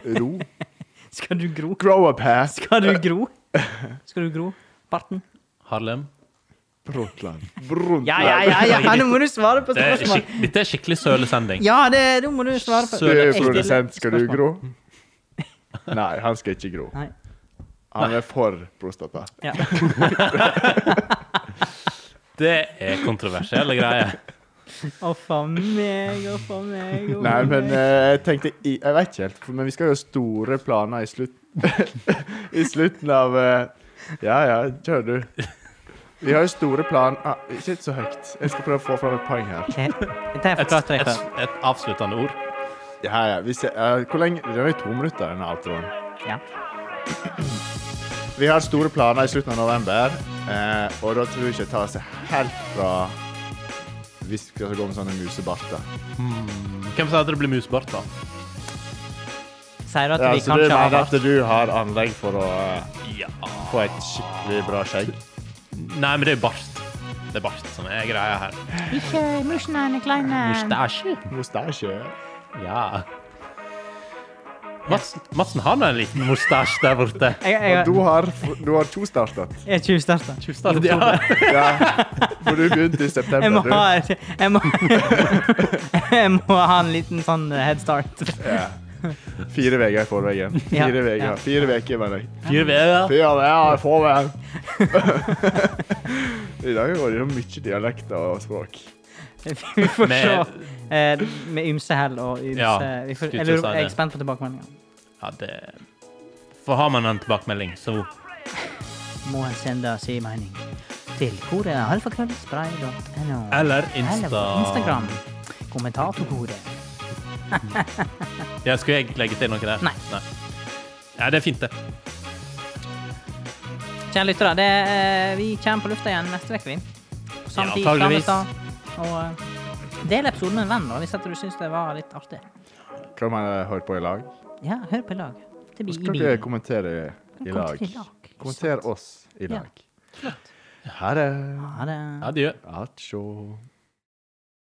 Speaker 1: Ro.
Speaker 2: Skal du gro?
Speaker 1: Grow up hair.
Speaker 2: Skal du gro? Skal du gro? Barten?
Speaker 3: Harlem.
Speaker 1: Brundtland. Brundtland.
Speaker 2: Ja, ja, ja, ja, nå må du svare på
Speaker 3: Det er
Speaker 2: spørsmål.
Speaker 3: skik, dette er skikkelig sølesending.
Speaker 2: Ja, det, nå må du svare på
Speaker 1: Du er
Speaker 2: Jeg stiller
Speaker 1: produsent, skal du
Speaker 2: spørsmål.
Speaker 1: gro? Nei, han skal ikke gro.
Speaker 2: Nei.
Speaker 1: Han er for prostata.
Speaker 2: Ja.
Speaker 3: Det er kontroversielle greier.
Speaker 2: Å, faen meg, å, faen meg. å,
Speaker 1: Nei,
Speaker 2: faen
Speaker 1: men
Speaker 2: meg.
Speaker 1: eh, jeg tenkte i- Jeg vet ikke helt, for- men vi skal jo ha store planer i, slutt, i slutten av eh, Ja ja, kjør du. Vi har jo store planer ah, Ikke så høyt. Jeg skal prøve å få fram et poeng her.
Speaker 2: Ok, Dette har jeg
Speaker 3: Et,
Speaker 2: forklart deg
Speaker 3: et,
Speaker 2: før.
Speaker 3: et avsluttende ord.
Speaker 1: Ja, ja, vi ser, eh, hvor lenge Det er jo to minutter, denne outroen.
Speaker 2: Ja.
Speaker 1: Vi har store planer i slutten av november, eh, og da tror jeg ikke jeg tar seg helt fra hvis vi skal gå med sånne musebarter.
Speaker 3: Hvem sa at det blir musbart, da?
Speaker 2: Sier du at
Speaker 1: Ja,
Speaker 2: vi
Speaker 1: så du
Speaker 2: kanskje har
Speaker 1: mener
Speaker 2: vært
Speaker 1: at du har anlegg for å eh,
Speaker 3: Ja.
Speaker 1: få et skikkelig bra skjegg?
Speaker 3: Nei, men det er bart. Det er bart som er greia her.
Speaker 2: Ikke musjen er en klein eh,
Speaker 3: Mustasje.
Speaker 1: Mustasje?
Speaker 3: Ja. Madsen, Madsen har nå en liten mustasje der borte.
Speaker 2: Jeg,
Speaker 1: Og
Speaker 2: jeg,
Speaker 1: du har, f- du har to startet.
Speaker 2: jeg er tjuvstarta.
Speaker 3: Tjuvstart, ja.
Speaker 1: Ja, for du begynte i
Speaker 2: Jeg må
Speaker 1: september.
Speaker 2: ha
Speaker 1: Du.
Speaker 2: et- jeg må, jeg må ha en liten sånn eh, head start.
Speaker 1: Fire uker i forveien.
Speaker 2: Ja,
Speaker 1: Fire uker,
Speaker 2: ja.
Speaker 1: fire uker mener jeg.
Speaker 3: Fire vever.
Speaker 1: Fire uker i forveien. I dag går det jo mye dialekter og språk.
Speaker 2: Vi får se.
Speaker 3: Med-
Speaker 2: eh, Med ymse hell og
Speaker 3: Ja,
Speaker 2: ymse vi får,
Speaker 3: skulle
Speaker 2: jeg,
Speaker 3: ikke
Speaker 2: lurer,
Speaker 3: si
Speaker 2: jeg er
Speaker 3: det.
Speaker 2: spent på tilbakemeldinga.
Speaker 3: Ja, det For har man en tilbakemelding, så
Speaker 2: Må en sende sin mening til korealfakrøllspray.no.
Speaker 3: Eller Insta.
Speaker 2: Instagram. Kommentatorkoret.
Speaker 3: Ja, skulle jeg legge til noe der?
Speaker 2: Nei.
Speaker 3: Nei. Ja, det er fint, det.
Speaker 2: Kjære lyttere, det, eh, vi kommer på lufta igjen neste uke, vi. På samme
Speaker 3: Ja,
Speaker 2: tid,
Speaker 3: antageligvis.
Speaker 2: samme sted. Og eh, del episoden med en venn, da, hvis at du syns det var litt artig.
Speaker 1: Hva man har hørt på i lag?
Speaker 2: Ja, hør på i lag. Det blir i
Speaker 1: Skal dere
Speaker 2: bilen.
Speaker 1: kommentere i
Speaker 2: Kommenter
Speaker 1: lag?
Speaker 2: i lag.
Speaker 1: Kommenter oss i
Speaker 2: Ja.
Speaker 1: lag. Ha det.
Speaker 2: Ha det.
Speaker 3: Adjø.
Speaker 1: Atsjå.